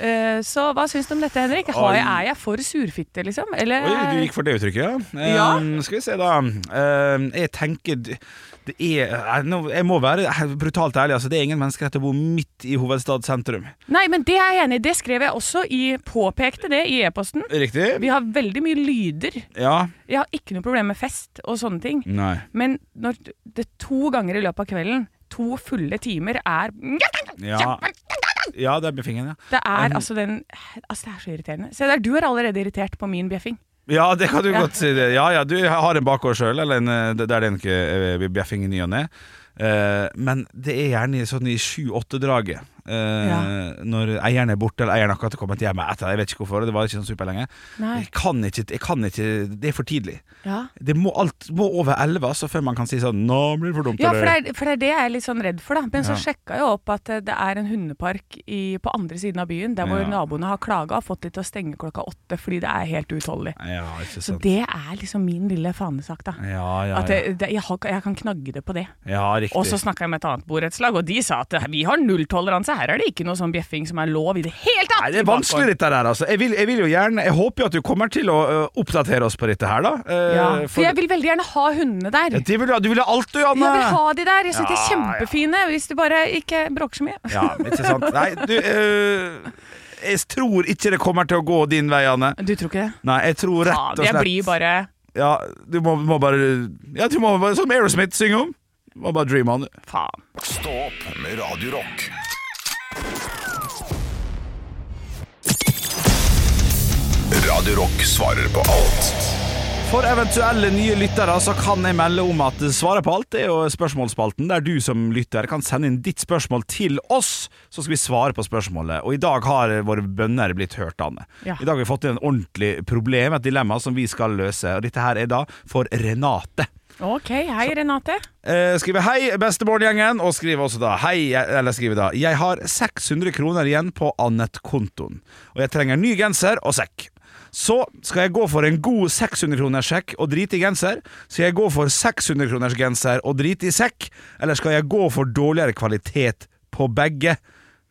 [SPEAKER 3] Eh, Så hva syns du om dette, Henrik? Har jeg, er jeg for surfitte, liksom? Eller
[SPEAKER 2] Oi, du gikk for det uttrykket, ja.
[SPEAKER 3] Ja.
[SPEAKER 2] Ehm, skal vi se, da. Ehm, jeg tenker d- det er eh, nå- Jeg må være brutalt ærlig. Altså, det er ingen menneskerett å bo midt i hovedstadssentrum.
[SPEAKER 3] Nei, men det er jeg enig i. Det skrev jeg også i Påpekte det i e-posten.
[SPEAKER 2] Riktig?
[SPEAKER 3] Vi har veldig mye lyder.
[SPEAKER 2] Ja.
[SPEAKER 3] Jeg har ikke noe problem med fest og sånne ting.
[SPEAKER 2] Nei.
[SPEAKER 3] Men når det to ganger i løpet av kvelden, to fulle timer, er
[SPEAKER 2] Ja, ja det er bjeffingen, ja.
[SPEAKER 3] Det er altså den Altså, det er så irriterende. Se der, du er allerede irritert på min bjeffing.
[SPEAKER 2] Ja, det kan du
[SPEAKER 3] Ja.
[SPEAKER 2] godt si. det. Ja, ja, du har en bakgård sjøl, eller en, eh, der det er ikke eh, bjeffing i ny og ne. Eh, men det er gjerne sånn i sju-åtte-draget. eh,
[SPEAKER 3] Ja.
[SPEAKER 2] Når eieren er borte, eller eieren akkurat har kommet hjem etter. Jeg vet ikke hvorfor, det var ikke sånn superlenge.
[SPEAKER 3] Nei.
[SPEAKER 2] Jeg kan ikke, jeg kan ikke Det er for tidlig.
[SPEAKER 3] Ja.
[SPEAKER 2] Det må, alt, må over elleve altså, før man kan si sånn Nå blir det for dumt.
[SPEAKER 3] Ja, for det,
[SPEAKER 2] eller-
[SPEAKER 3] er, for det er det jeg er litt sånn redd for, da. Men
[SPEAKER 2] Ja.
[SPEAKER 3] så sjekka jeg opp at eh, det er en hundepark i, på andre siden av byen, der hvor
[SPEAKER 2] Ja.
[SPEAKER 3] naboene har klaga og fått de til å stenge klokka åtte fordi det er helt uutholdelig.
[SPEAKER 2] ja, ikke
[SPEAKER 3] Så
[SPEAKER 2] sant.
[SPEAKER 3] det er liksom min lille fanesak, da.
[SPEAKER 2] Ja, ja,
[SPEAKER 3] At
[SPEAKER 2] ja.
[SPEAKER 3] det, det, jeg, har, jeg kan knagge det på det.
[SPEAKER 2] ja, riktig.
[SPEAKER 3] Og så snakka jeg med et annet borettslag, og de sa at eh, vi har nulltoleranse. Her er det ikke noe sånn bjeffing som er lov i det hele tatt!
[SPEAKER 2] Nei, det
[SPEAKER 3] i
[SPEAKER 2] er
[SPEAKER 3] bakgården.
[SPEAKER 2] vanskelig dette her, altså. Jeg, vil, jeg vil jo gjerne Jeg håper jo at du kommer til å ø, oppdatere oss på dette her, da. Eh,
[SPEAKER 3] Ja, for jeg vil veldig gjerne ha hundene
[SPEAKER 2] Ja,
[SPEAKER 3] der.
[SPEAKER 2] det vil du ha. Du vil ha alt, du, Anne.
[SPEAKER 3] Jeg vil ha de der. Jeg syns de er
[SPEAKER 2] Ja, ja.
[SPEAKER 3] kjempefine, hvis de bare ikke bråker så mye.
[SPEAKER 2] Ja, ikke sant. Nei, du ø, Jeg tror ikke det kommer til å gå din vei, Anne.
[SPEAKER 3] Du tror ikke det?
[SPEAKER 2] Nei, jeg tror rett og
[SPEAKER 3] Faen,
[SPEAKER 2] slett
[SPEAKER 3] jeg blir bare
[SPEAKER 2] Ja, du må, må bare Ja, du må bare Som Aerosmith synger om. Må bare dreame on.
[SPEAKER 3] Faen.
[SPEAKER 1] Stå opp med Radio Rock. Radio Rock svarer på alt.
[SPEAKER 2] For eventuelle nye lyttere så kan jeg melde om at svaret på alt er jo spørsmålsspalten, der du som lytter kan sende inn ditt spørsmål til oss, så skal vi svare på spørsmålet. Og i dag har våre bønner blitt hørt, Anne.
[SPEAKER 3] Ja.
[SPEAKER 2] I dag har vi fått inn en ordentlig problem, et dilemma som vi skal løse. Og dette her er da for Renate.
[SPEAKER 3] Ok, hei Renate.
[SPEAKER 2] Eh, skriver 'Hei, bestebarngjengen', og skriver også da 'Hei', eller skriver da 'Jeg har 600 kroner igjen på Annet-kontoen', og jeg trenger ny genser og sekk. Så skal jeg gå for en god 600 kroners sekk og drite i genser? Skal jeg gå for 600 kroners genser og drite i sekk? Eller skal jeg gå for dårligere kvalitet på begge?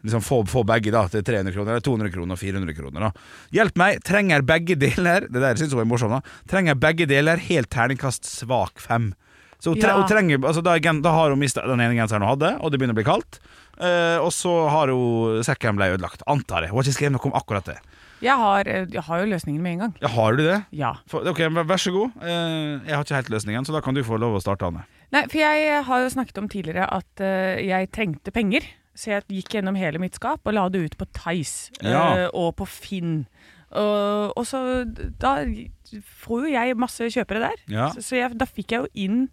[SPEAKER 2] Liksom få, få begge da til 300 kroner, eller 200 kroner og 400 kroner. da Hjelp meg, trenger begge deler Det der synes hun er morsomt. da Trenger begge deler helt terningkast svak fem. Så hun, tre,
[SPEAKER 3] Ja.
[SPEAKER 2] hun trenger, altså da, er gen- da har hun mista den ene genseren hun hadde, og det begynner å bli kaldt. Eh, og så har hun sekken ble ødelagt, antar jeg. Hun har ikke skrevet noe om akkurat det.
[SPEAKER 3] Jeg har, eh, jeg har jo løsningen med en gang.
[SPEAKER 2] Ja, har du det?
[SPEAKER 3] Ja.
[SPEAKER 2] For, ok, vær- Vær så god. Eh, jeg har ikke helt løsningen, så da kan du få lov å starte, Anne.
[SPEAKER 3] Nei, for jeg eh, har jo snakket om tidligere at eh, jeg trengte penger. Så jeg gikk gjennom hele mitt skap og la det ut på Tice eh,
[SPEAKER 2] Ja.
[SPEAKER 3] og på Finn. Og, og så da får jo jeg masse kjøpere der.
[SPEAKER 2] Ja.
[SPEAKER 3] Så, så jeg, da fikk jeg jo inn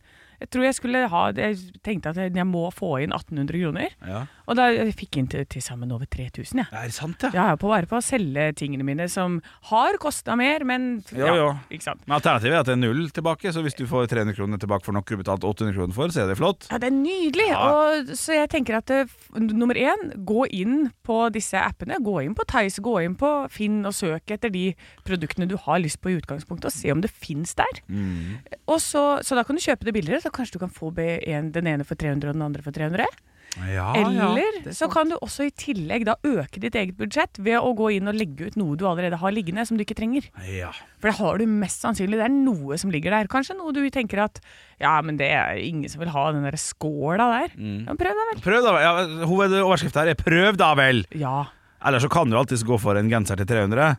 [SPEAKER 3] Jeg tror jeg skulle ha Jeg tenkte at jeg, jeg må få inn 1800 kroner.
[SPEAKER 2] Ja.
[SPEAKER 3] Og da jeg fikk jeg inn til, til sammen over 3000, jeg. Ja.
[SPEAKER 2] Er det sant, ja?
[SPEAKER 3] Jeg er på vare på å selge tingene mine som har kosta mer, men
[SPEAKER 2] Jo, jo.
[SPEAKER 3] ikke sant.
[SPEAKER 2] Men alternativet er at det er null tilbake, så hvis du får 300 kroner tilbake for noe du betalte 800 kroner for, så er det flott.
[SPEAKER 3] Ja, det er nydelig.
[SPEAKER 2] Ja.
[SPEAKER 3] Og, så jeg tenker at eh, f- nummer én, gå inn på disse appene. Gå inn på Tice, gå inn på Finn og søk etter de produktene du har lyst på i utgangspunktet, og se om det fins der.
[SPEAKER 2] Mm.
[SPEAKER 3] Og så, så da kan du kjøpe det billigere, så kanskje du kan få be- en, den ene for 300 og den andre for 300.
[SPEAKER 2] Ah, Ja,
[SPEAKER 3] Eller så kan du også i tillegg da øke ditt eget budsjett ved å gå inn og legge ut noe du allerede har liggende som du ikke trenger.
[SPEAKER 2] ja.
[SPEAKER 3] For det har du mest sannsynlig. Det er noe som ligger der. Kanskje noe du tenker at Ja, men det er ingen som vil ha den der skåla der.
[SPEAKER 2] Mm.
[SPEAKER 3] Ja, men prøv deg vel.
[SPEAKER 2] Prøv da vel. Ja, hovedoverskriften her er 'prøv da vel'.
[SPEAKER 3] Ja.
[SPEAKER 2] Eller så kan du alltids gå for en genser til 300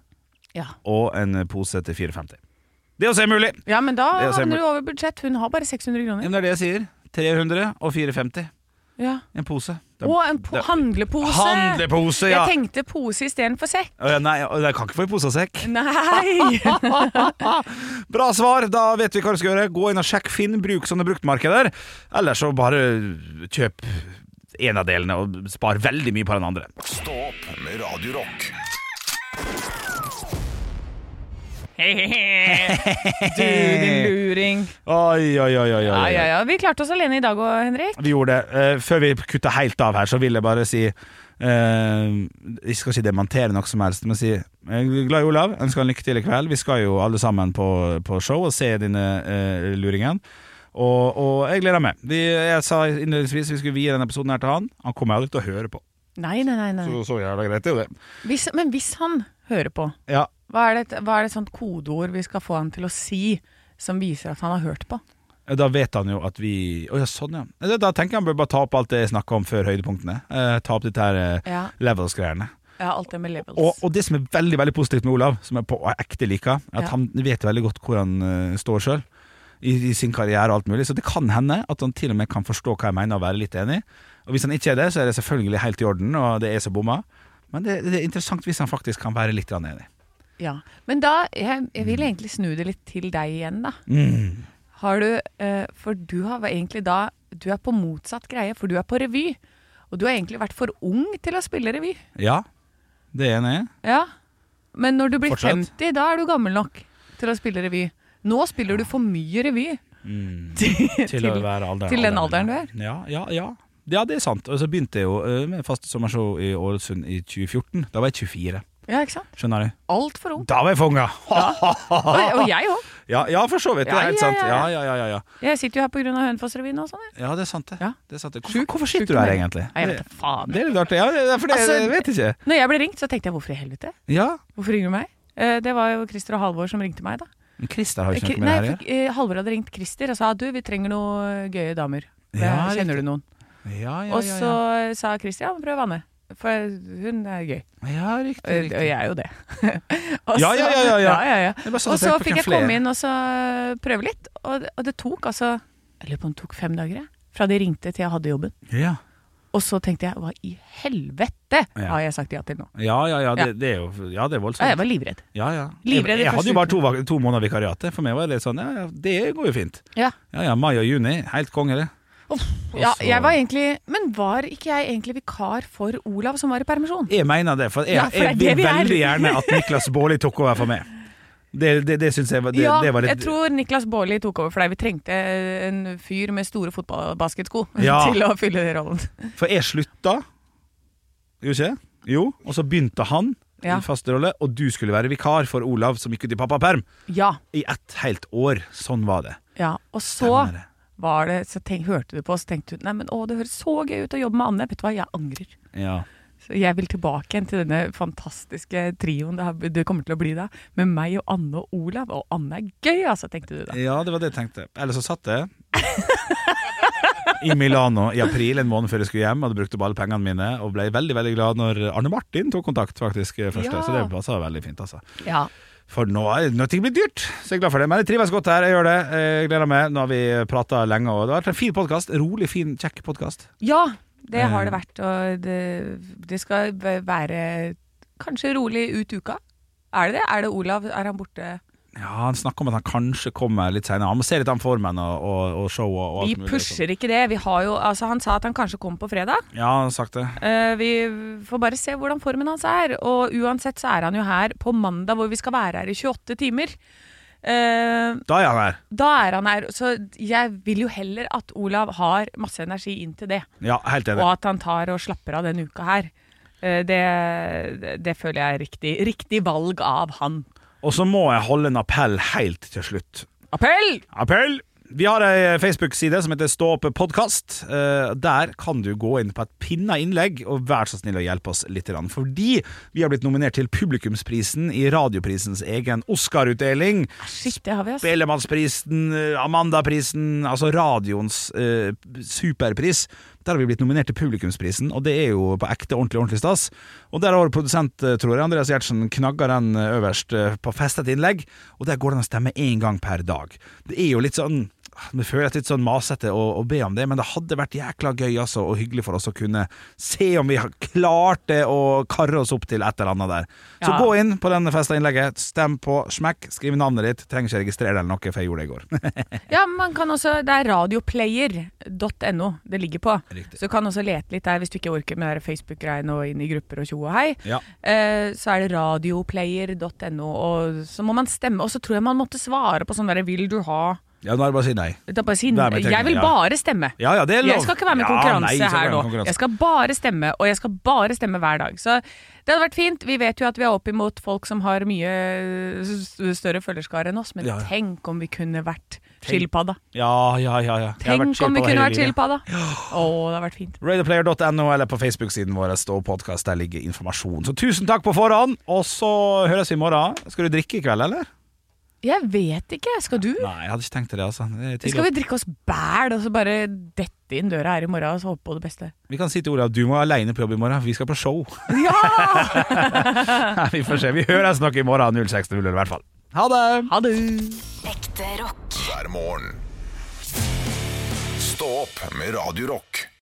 [SPEAKER 3] Ja,
[SPEAKER 2] og en pose til 450. Det også er mulig.
[SPEAKER 3] ja men da
[SPEAKER 2] Det er så
[SPEAKER 3] havner du over budsjett. Hun har bare 600
[SPEAKER 2] Ja,
[SPEAKER 3] kroner.
[SPEAKER 2] men det er det jeg sier. 300 og 450.
[SPEAKER 3] Ja.
[SPEAKER 2] En pose. Det-
[SPEAKER 3] Og en po
[SPEAKER 2] det-
[SPEAKER 3] handlepose.
[SPEAKER 2] Handlepose, ja!
[SPEAKER 3] Jeg tenkte pose istedenfor sekk.
[SPEAKER 2] Å, ja, nei, å, jeg kan ikke få i pose og sekk.
[SPEAKER 3] *laughs* Nei!
[SPEAKER 2] Bra svar! Da vet vi hva du skal gjøre. Gå inn og sjekk Finn, bruk sånne bruktmarkeder. Eller så bare kjøp en av delene og spar veldig mye på den andre.
[SPEAKER 1] Stå opp med Radio Rock.
[SPEAKER 3] du, din luring.
[SPEAKER 2] Oi, oi, oi, oi,
[SPEAKER 3] Ja,
[SPEAKER 2] oi,
[SPEAKER 3] ja,
[SPEAKER 2] oi.
[SPEAKER 3] ja. Vi klarte oss alene i dag òg, Henrik.
[SPEAKER 2] Vi gjorde det. Eh, før vi kutter helt av her, så vil jeg bare si eh, Jeg skal ikke dementere noe som helst, men si eh, glad i Olav. Ønsker han lykke til i kveld. Vi skal jo alle sammen på, på show og se denne eh, luringen. Og, og jeg gleder meg. Vi, jeg sa innledningsvis vi skulle vie denne episoden her til han. Han kommer aldri til å høre på.
[SPEAKER 3] Nei, nei, nei. nei.
[SPEAKER 2] Så, så jævla greit er jo det.
[SPEAKER 3] Hvis, men hvis han hører på,
[SPEAKER 2] Ja.
[SPEAKER 3] hva er, det, et- hva er det et sånt kodeord vi skal få han til å si som viser at han har hørt på?
[SPEAKER 2] Da vet han jo at vi Å ja, sånn, ja. Da- Da tenker jeg han bør bare ta opp alt det jeg snakka om før høydepunktene. Eh, ta opp dette her eh,
[SPEAKER 3] Ja,
[SPEAKER 2] levels-greiene.
[SPEAKER 3] ja alt det med levels.
[SPEAKER 2] Og, og det som er veldig veldig positivt med Olav, som jeg på og jeg ekte liker, er at
[SPEAKER 3] Ja.
[SPEAKER 2] han vet veldig godt hvor han eh, står sjøl. I, I sin karriere og alt mulig. Så det kan hende at han til og med kan forstå hva jeg mener og være litt enig. Og hvis han ikke er det, så er det selvfølgelig helt i orden, og det er så bomma. Men det, det er interessant hvis han faktisk kan være litt grann enig.
[SPEAKER 3] Ja. Men da, jeg, jeg vil egentlig snu det litt til deg igjen, da. Har du eh, For du har egentlig da Du er på motsatt greie, for du er på revy. Og du har egentlig vært for ung til å spille revy.
[SPEAKER 2] Ja, det er enig.
[SPEAKER 3] Ja. Men når du blir
[SPEAKER 2] Fortsatt.
[SPEAKER 3] 50, da er du gammel nok til å spille revy. Nå spiller du for mye revy.
[SPEAKER 2] Til, å være alder,
[SPEAKER 3] *laughs* til den alderen du er.
[SPEAKER 2] Ja, ja, ja. ja det er sant. Og så begynte jeg jo eh, med faste sommershow i Ålesund i 2014. Da var jeg 24,
[SPEAKER 3] Ja, ikke sant?
[SPEAKER 2] skjønner du.
[SPEAKER 3] Altfor ung.
[SPEAKER 2] Da var jeg fanga!
[SPEAKER 3] Og, og jeg òg.
[SPEAKER 2] Ja, ja, for så vidt. Det
[SPEAKER 3] Ja,
[SPEAKER 2] er helt
[SPEAKER 3] ja,
[SPEAKER 2] sant.
[SPEAKER 3] ja,
[SPEAKER 2] Ja,
[SPEAKER 3] ja.
[SPEAKER 2] ja, ja, ja, ja.
[SPEAKER 3] Jeg sitter jo her pga. Hønefossrevyen og sånn. jeg.
[SPEAKER 2] ja det er sant, det.
[SPEAKER 3] Ja.
[SPEAKER 2] det, er sant, det. Hvorfor,
[SPEAKER 3] Sjukt-
[SPEAKER 2] hvorfor
[SPEAKER 3] sjukt
[SPEAKER 2] sitter du her,
[SPEAKER 3] mening.
[SPEAKER 2] egentlig?
[SPEAKER 3] Nei, Jeg vet da faen.
[SPEAKER 2] Det er litt artig. Ja, det er for det,
[SPEAKER 3] Altså,
[SPEAKER 2] jeg vet ikke.
[SPEAKER 3] Når jeg ble ringt, så tenkte jeg hvorfor i helvete?
[SPEAKER 2] Ja.
[SPEAKER 3] Hvorfor ringer du meg? Eh, Det var jo Christer og Halvor som ringte meg, da.
[SPEAKER 2] Men Christer har jo ikke
[SPEAKER 3] Kri-
[SPEAKER 2] noe med det
[SPEAKER 3] Nei,
[SPEAKER 2] her å
[SPEAKER 3] for, eh, Halvor hadde ringt Christer og sa du, vi trenger noen gøye damer.
[SPEAKER 2] Ja,
[SPEAKER 3] kjenner
[SPEAKER 2] riktig.
[SPEAKER 3] du noen?
[SPEAKER 2] gjøre. Ja, ja,
[SPEAKER 3] Og
[SPEAKER 2] ja,
[SPEAKER 3] så sa Christer ja, men prøv Anne. For hun er gøy.
[SPEAKER 2] ja. ja, riktig.
[SPEAKER 3] Og
[SPEAKER 2] riktig.
[SPEAKER 3] og jeg er jo det. *laughs* Og
[SPEAKER 2] Ja,
[SPEAKER 3] så-
[SPEAKER 2] ja, ja, ja, ja.
[SPEAKER 3] ja, ja.
[SPEAKER 2] Det er bare sånn
[SPEAKER 3] Og
[SPEAKER 2] at jeg
[SPEAKER 3] så
[SPEAKER 2] får
[SPEAKER 3] fikk jeg
[SPEAKER 2] flere.
[SPEAKER 3] komme inn og så prøve litt, og, og det tok altså Jeg lurer på om det tok fem dager, jeg. Fra de ringte til jeg hadde jobben.
[SPEAKER 2] Ja,
[SPEAKER 3] Og så tenkte jeg hva i helvete
[SPEAKER 2] Ja.
[SPEAKER 3] har jeg sagt ja til nå?
[SPEAKER 2] ja, ja, ja, det,
[SPEAKER 3] Ja.
[SPEAKER 2] det er jo ja, det er
[SPEAKER 3] Ja, jeg
[SPEAKER 2] voldsomt.
[SPEAKER 3] var livredd.
[SPEAKER 2] Ja, ja. Jeg,
[SPEAKER 3] Livredd i
[SPEAKER 2] jeg
[SPEAKER 3] første
[SPEAKER 2] hadde jo bare to, vak- to måneder vikariate. For meg var det litt sånn ja, ja, det går jo fint.
[SPEAKER 3] Ja.
[SPEAKER 2] Ja, ja, mai og juni. Helt konge, det.
[SPEAKER 3] Ja,
[SPEAKER 2] så-
[SPEAKER 3] jeg var egentlig, men var ikke jeg egentlig vikar for Olav som var i permisjon?
[SPEAKER 2] Jeg mener det, for jeg,
[SPEAKER 3] Ja, for det er
[SPEAKER 2] jeg
[SPEAKER 3] det
[SPEAKER 2] vil
[SPEAKER 3] vi er.
[SPEAKER 2] veldig gjerne at Niklas Baarli tok over for meg. Det, det, det syns jeg var, det,
[SPEAKER 3] ja,
[SPEAKER 2] det var litt
[SPEAKER 3] jeg tror Niklas Baarli tok over for deg. Vi trengte en fyr med store fotballbasketsko *laughs*
[SPEAKER 2] Ja.
[SPEAKER 3] til å fylle den rollen.
[SPEAKER 2] For jeg slutta, gjorde ikke jeg? Jo, og så begynte han
[SPEAKER 3] Ja.
[SPEAKER 2] i faste rolle, og du skulle være vikar for Olav, som gikk ut i pappaperm.
[SPEAKER 3] Ja,
[SPEAKER 2] I ett helt år. Sånn var det.
[SPEAKER 3] ja. Og så
[SPEAKER 2] Stemmer det.
[SPEAKER 3] var det, så tenk, hørte du på, så tenkte du nei, men å, det høres så gøy ut å jobbe med Anne. Vet du hva, jeg angrer.
[SPEAKER 2] Ja.
[SPEAKER 3] Så jeg vil tilbake igjen til denne fantastiske trioen det, har, det kommer til å bli da, med meg og Anne og Olav. Og Anne er gøy, altså, tenkte du da.
[SPEAKER 2] ja, det var det jeg tenkte. Eller så satt jeg i Milano i april, en måned før jeg skulle hjem. Hadde brukt opp alle pengene mine og ble veldig veldig glad når Arne Martin tok kontakt. faktisk først,
[SPEAKER 3] Ja.
[SPEAKER 2] Så det passa veldig fint. altså
[SPEAKER 3] Ja.
[SPEAKER 2] For nå er nå er ting blitt dyrt, så jeg er glad for det. Men jeg trives godt her. Jeg gjør det. Jeg gleder meg. Nå har vi prata lenge, og det har vært en fin podkast. Rolig, fin, kjekk podkast.
[SPEAKER 3] Ja, det har
[SPEAKER 2] Eh.
[SPEAKER 3] det vært. Og det, det skal v- være kanskje rolig ut uka. Er det det? Er det Olav? Er han borte?
[SPEAKER 2] Ja, Han snakker om at han kanskje kommer litt senere. Han må se litt an formen og, og, og showet. Og sånn. alt
[SPEAKER 3] Vi
[SPEAKER 2] mulig
[SPEAKER 3] pusher ikke det. Vi har jo, altså, han sa at han kanskje kommer på fredag.
[SPEAKER 2] sånt. Ja, han har sagt det.
[SPEAKER 3] Eh, vi får bare se hvordan formen hans er. Og uansett så er han jo her på mandag, hvor vi skal være her i 28 timer. Eh,
[SPEAKER 2] Da er han her.
[SPEAKER 3] da er han her. Så jeg vil jo heller at Olav har masse energi inn til det.
[SPEAKER 2] Ja, helt enig.
[SPEAKER 3] Og at han tar og slapper av denne uka her. Eh, Det, det føler jeg er riktig. Riktig valg av han.
[SPEAKER 2] Og så må jeg holde en appell helt til slutt.
[SPEAKER 3] Appell!
[SPEAKER 2] Appell! Vi har ei Facebook-side som heter Stå opp podkast. Eh, Der kan du gå inn på et pinna innlegg, og vær så snill å hjelpe oss litt. grann. Fordi vi har blitt nominert til Publikumsprisen i Radioprisens egen Oscar-utdeling.
[SPEAKER 3] Shit, det har vi, ass.
[SPEAKER 2] Spellemannsprisen, eh, Amandaprisen, altså radioens eh, superpris. Der har vi blitt nominert til Publikumsprisen, og det er jo på ekte ordentlig ordentlig stas. Og der har vår produsent, eh, tror jeg, Andreas Gjertsen, knagga den eh, øverst eh, på festet innlegg, og der går det an å stemme én gang per dag. Det er jo litt sånn det føles litt sånn masete å, å be om det, men det hadde vært jækla gøy altså, og hyggelig for oss å kunne se om vi har klart det å karre oss opp til et eller annet der. Så
[SPEAKER 3] Ja.
[SPEAKER 2] gå inn på denne festa innlegget, stem på smekk, skriv navnet ditt, trenger ikke registrere det eller noe, for jeg gjorde det i går. *laughs*
[SPEAKER 3] Ja, men man kan også, Det er radioplayer.no det ligger på.
[SPEAKER 2] Riktig.
[SPEAKER 3] Så du kan også lete litt der hvis du ikke orker med det der Facebook-greiene og inn i grupper og tjo og hei.
[SPEAKER 2] Ja.
[SPEAKER 3] Eh, Så er det radioplayer.no, og så må man stemme. Og så tror jeg man måtte svare på sånn derre Vil du ha
[SPEAKER 2] Ja, nå er det bare å si nei.
[SPEAKER 3] Da bare si
[SPEAKER 2] Vær med i teknikken,
[SPEAKER 3] Jeg vil
[SPEAKER 2] ja.
[SPEAKER 3] bare stemme.
[SPEAKER 2] Ja, ja, det er lov.
[SPEAKER 3] Jeg skal ikke være med i
[SPEAKER 2] Ja,
[SPEAKER 3] konkurranse
[SPEAKER 2] nei, jeg skal ikke
[SPEAKER 3] her
[SPEAKER 2] være
[SPEAKER 3] nå.
[SPEAKER 2] med i konkurranse.
[SPEAKER 3] Jeg skal bare stemme, og jeg skal bare stemme hver dag. Så det hadde vært fint. Vi vet jo at vi er opp imot folk som har mye s- større følgerskare enn oss, men
[SPEAKER 2] Ja, ja.
[SPEAKER 3] tenk om vi kunne vært Skilpadda.
[SPEAKER 2] Ja, ja, ja. ja. Jeg har vært
[SPEAKER 3] Tenk om
[SPEAKER 2] skilpadda
[SPEAKER 3] vi kunne
[SPEAKER 2] hele
[SPEAKER 3] vært
[SPEAKER 2] livet.
[SPEAKER 3] skilpadda. Å, det hadde vært fint.
[SPEAKER 2] Radioplayer.no eller på Facebook-siden vår Stå podcast, der ligger informasjon. Så tusen takk på forhånd, og så høres vi i morgen. Skal du drikke i kveld, eller?
[SPEAKER 3] Jeg vet ikke. Skal du?
[SPEAKER 2] Nei, jeg hadde ikke tenkt til det, altså. Det er tidlig
[SPEAKER 3] Skal vi drikke oss bæl og så bare dette inn døra her i morgen og så håpe på det beste?
[SPEAKER 2] å- Vi kan si til Olav du må aleine på jobb i morgen, vi skal på show. *laughs*
[SPEAKER 3] Ja!
[SPEAKER 2] vi får se. Vi høres nok i morgen 06.00 i hvert fall. Ha det!
[SPEAKER 3] Ha det!
[SPEAKER 4] Ekte rock.
[SPEAKER 1] hver morgen. Stå opp med Radio Rock.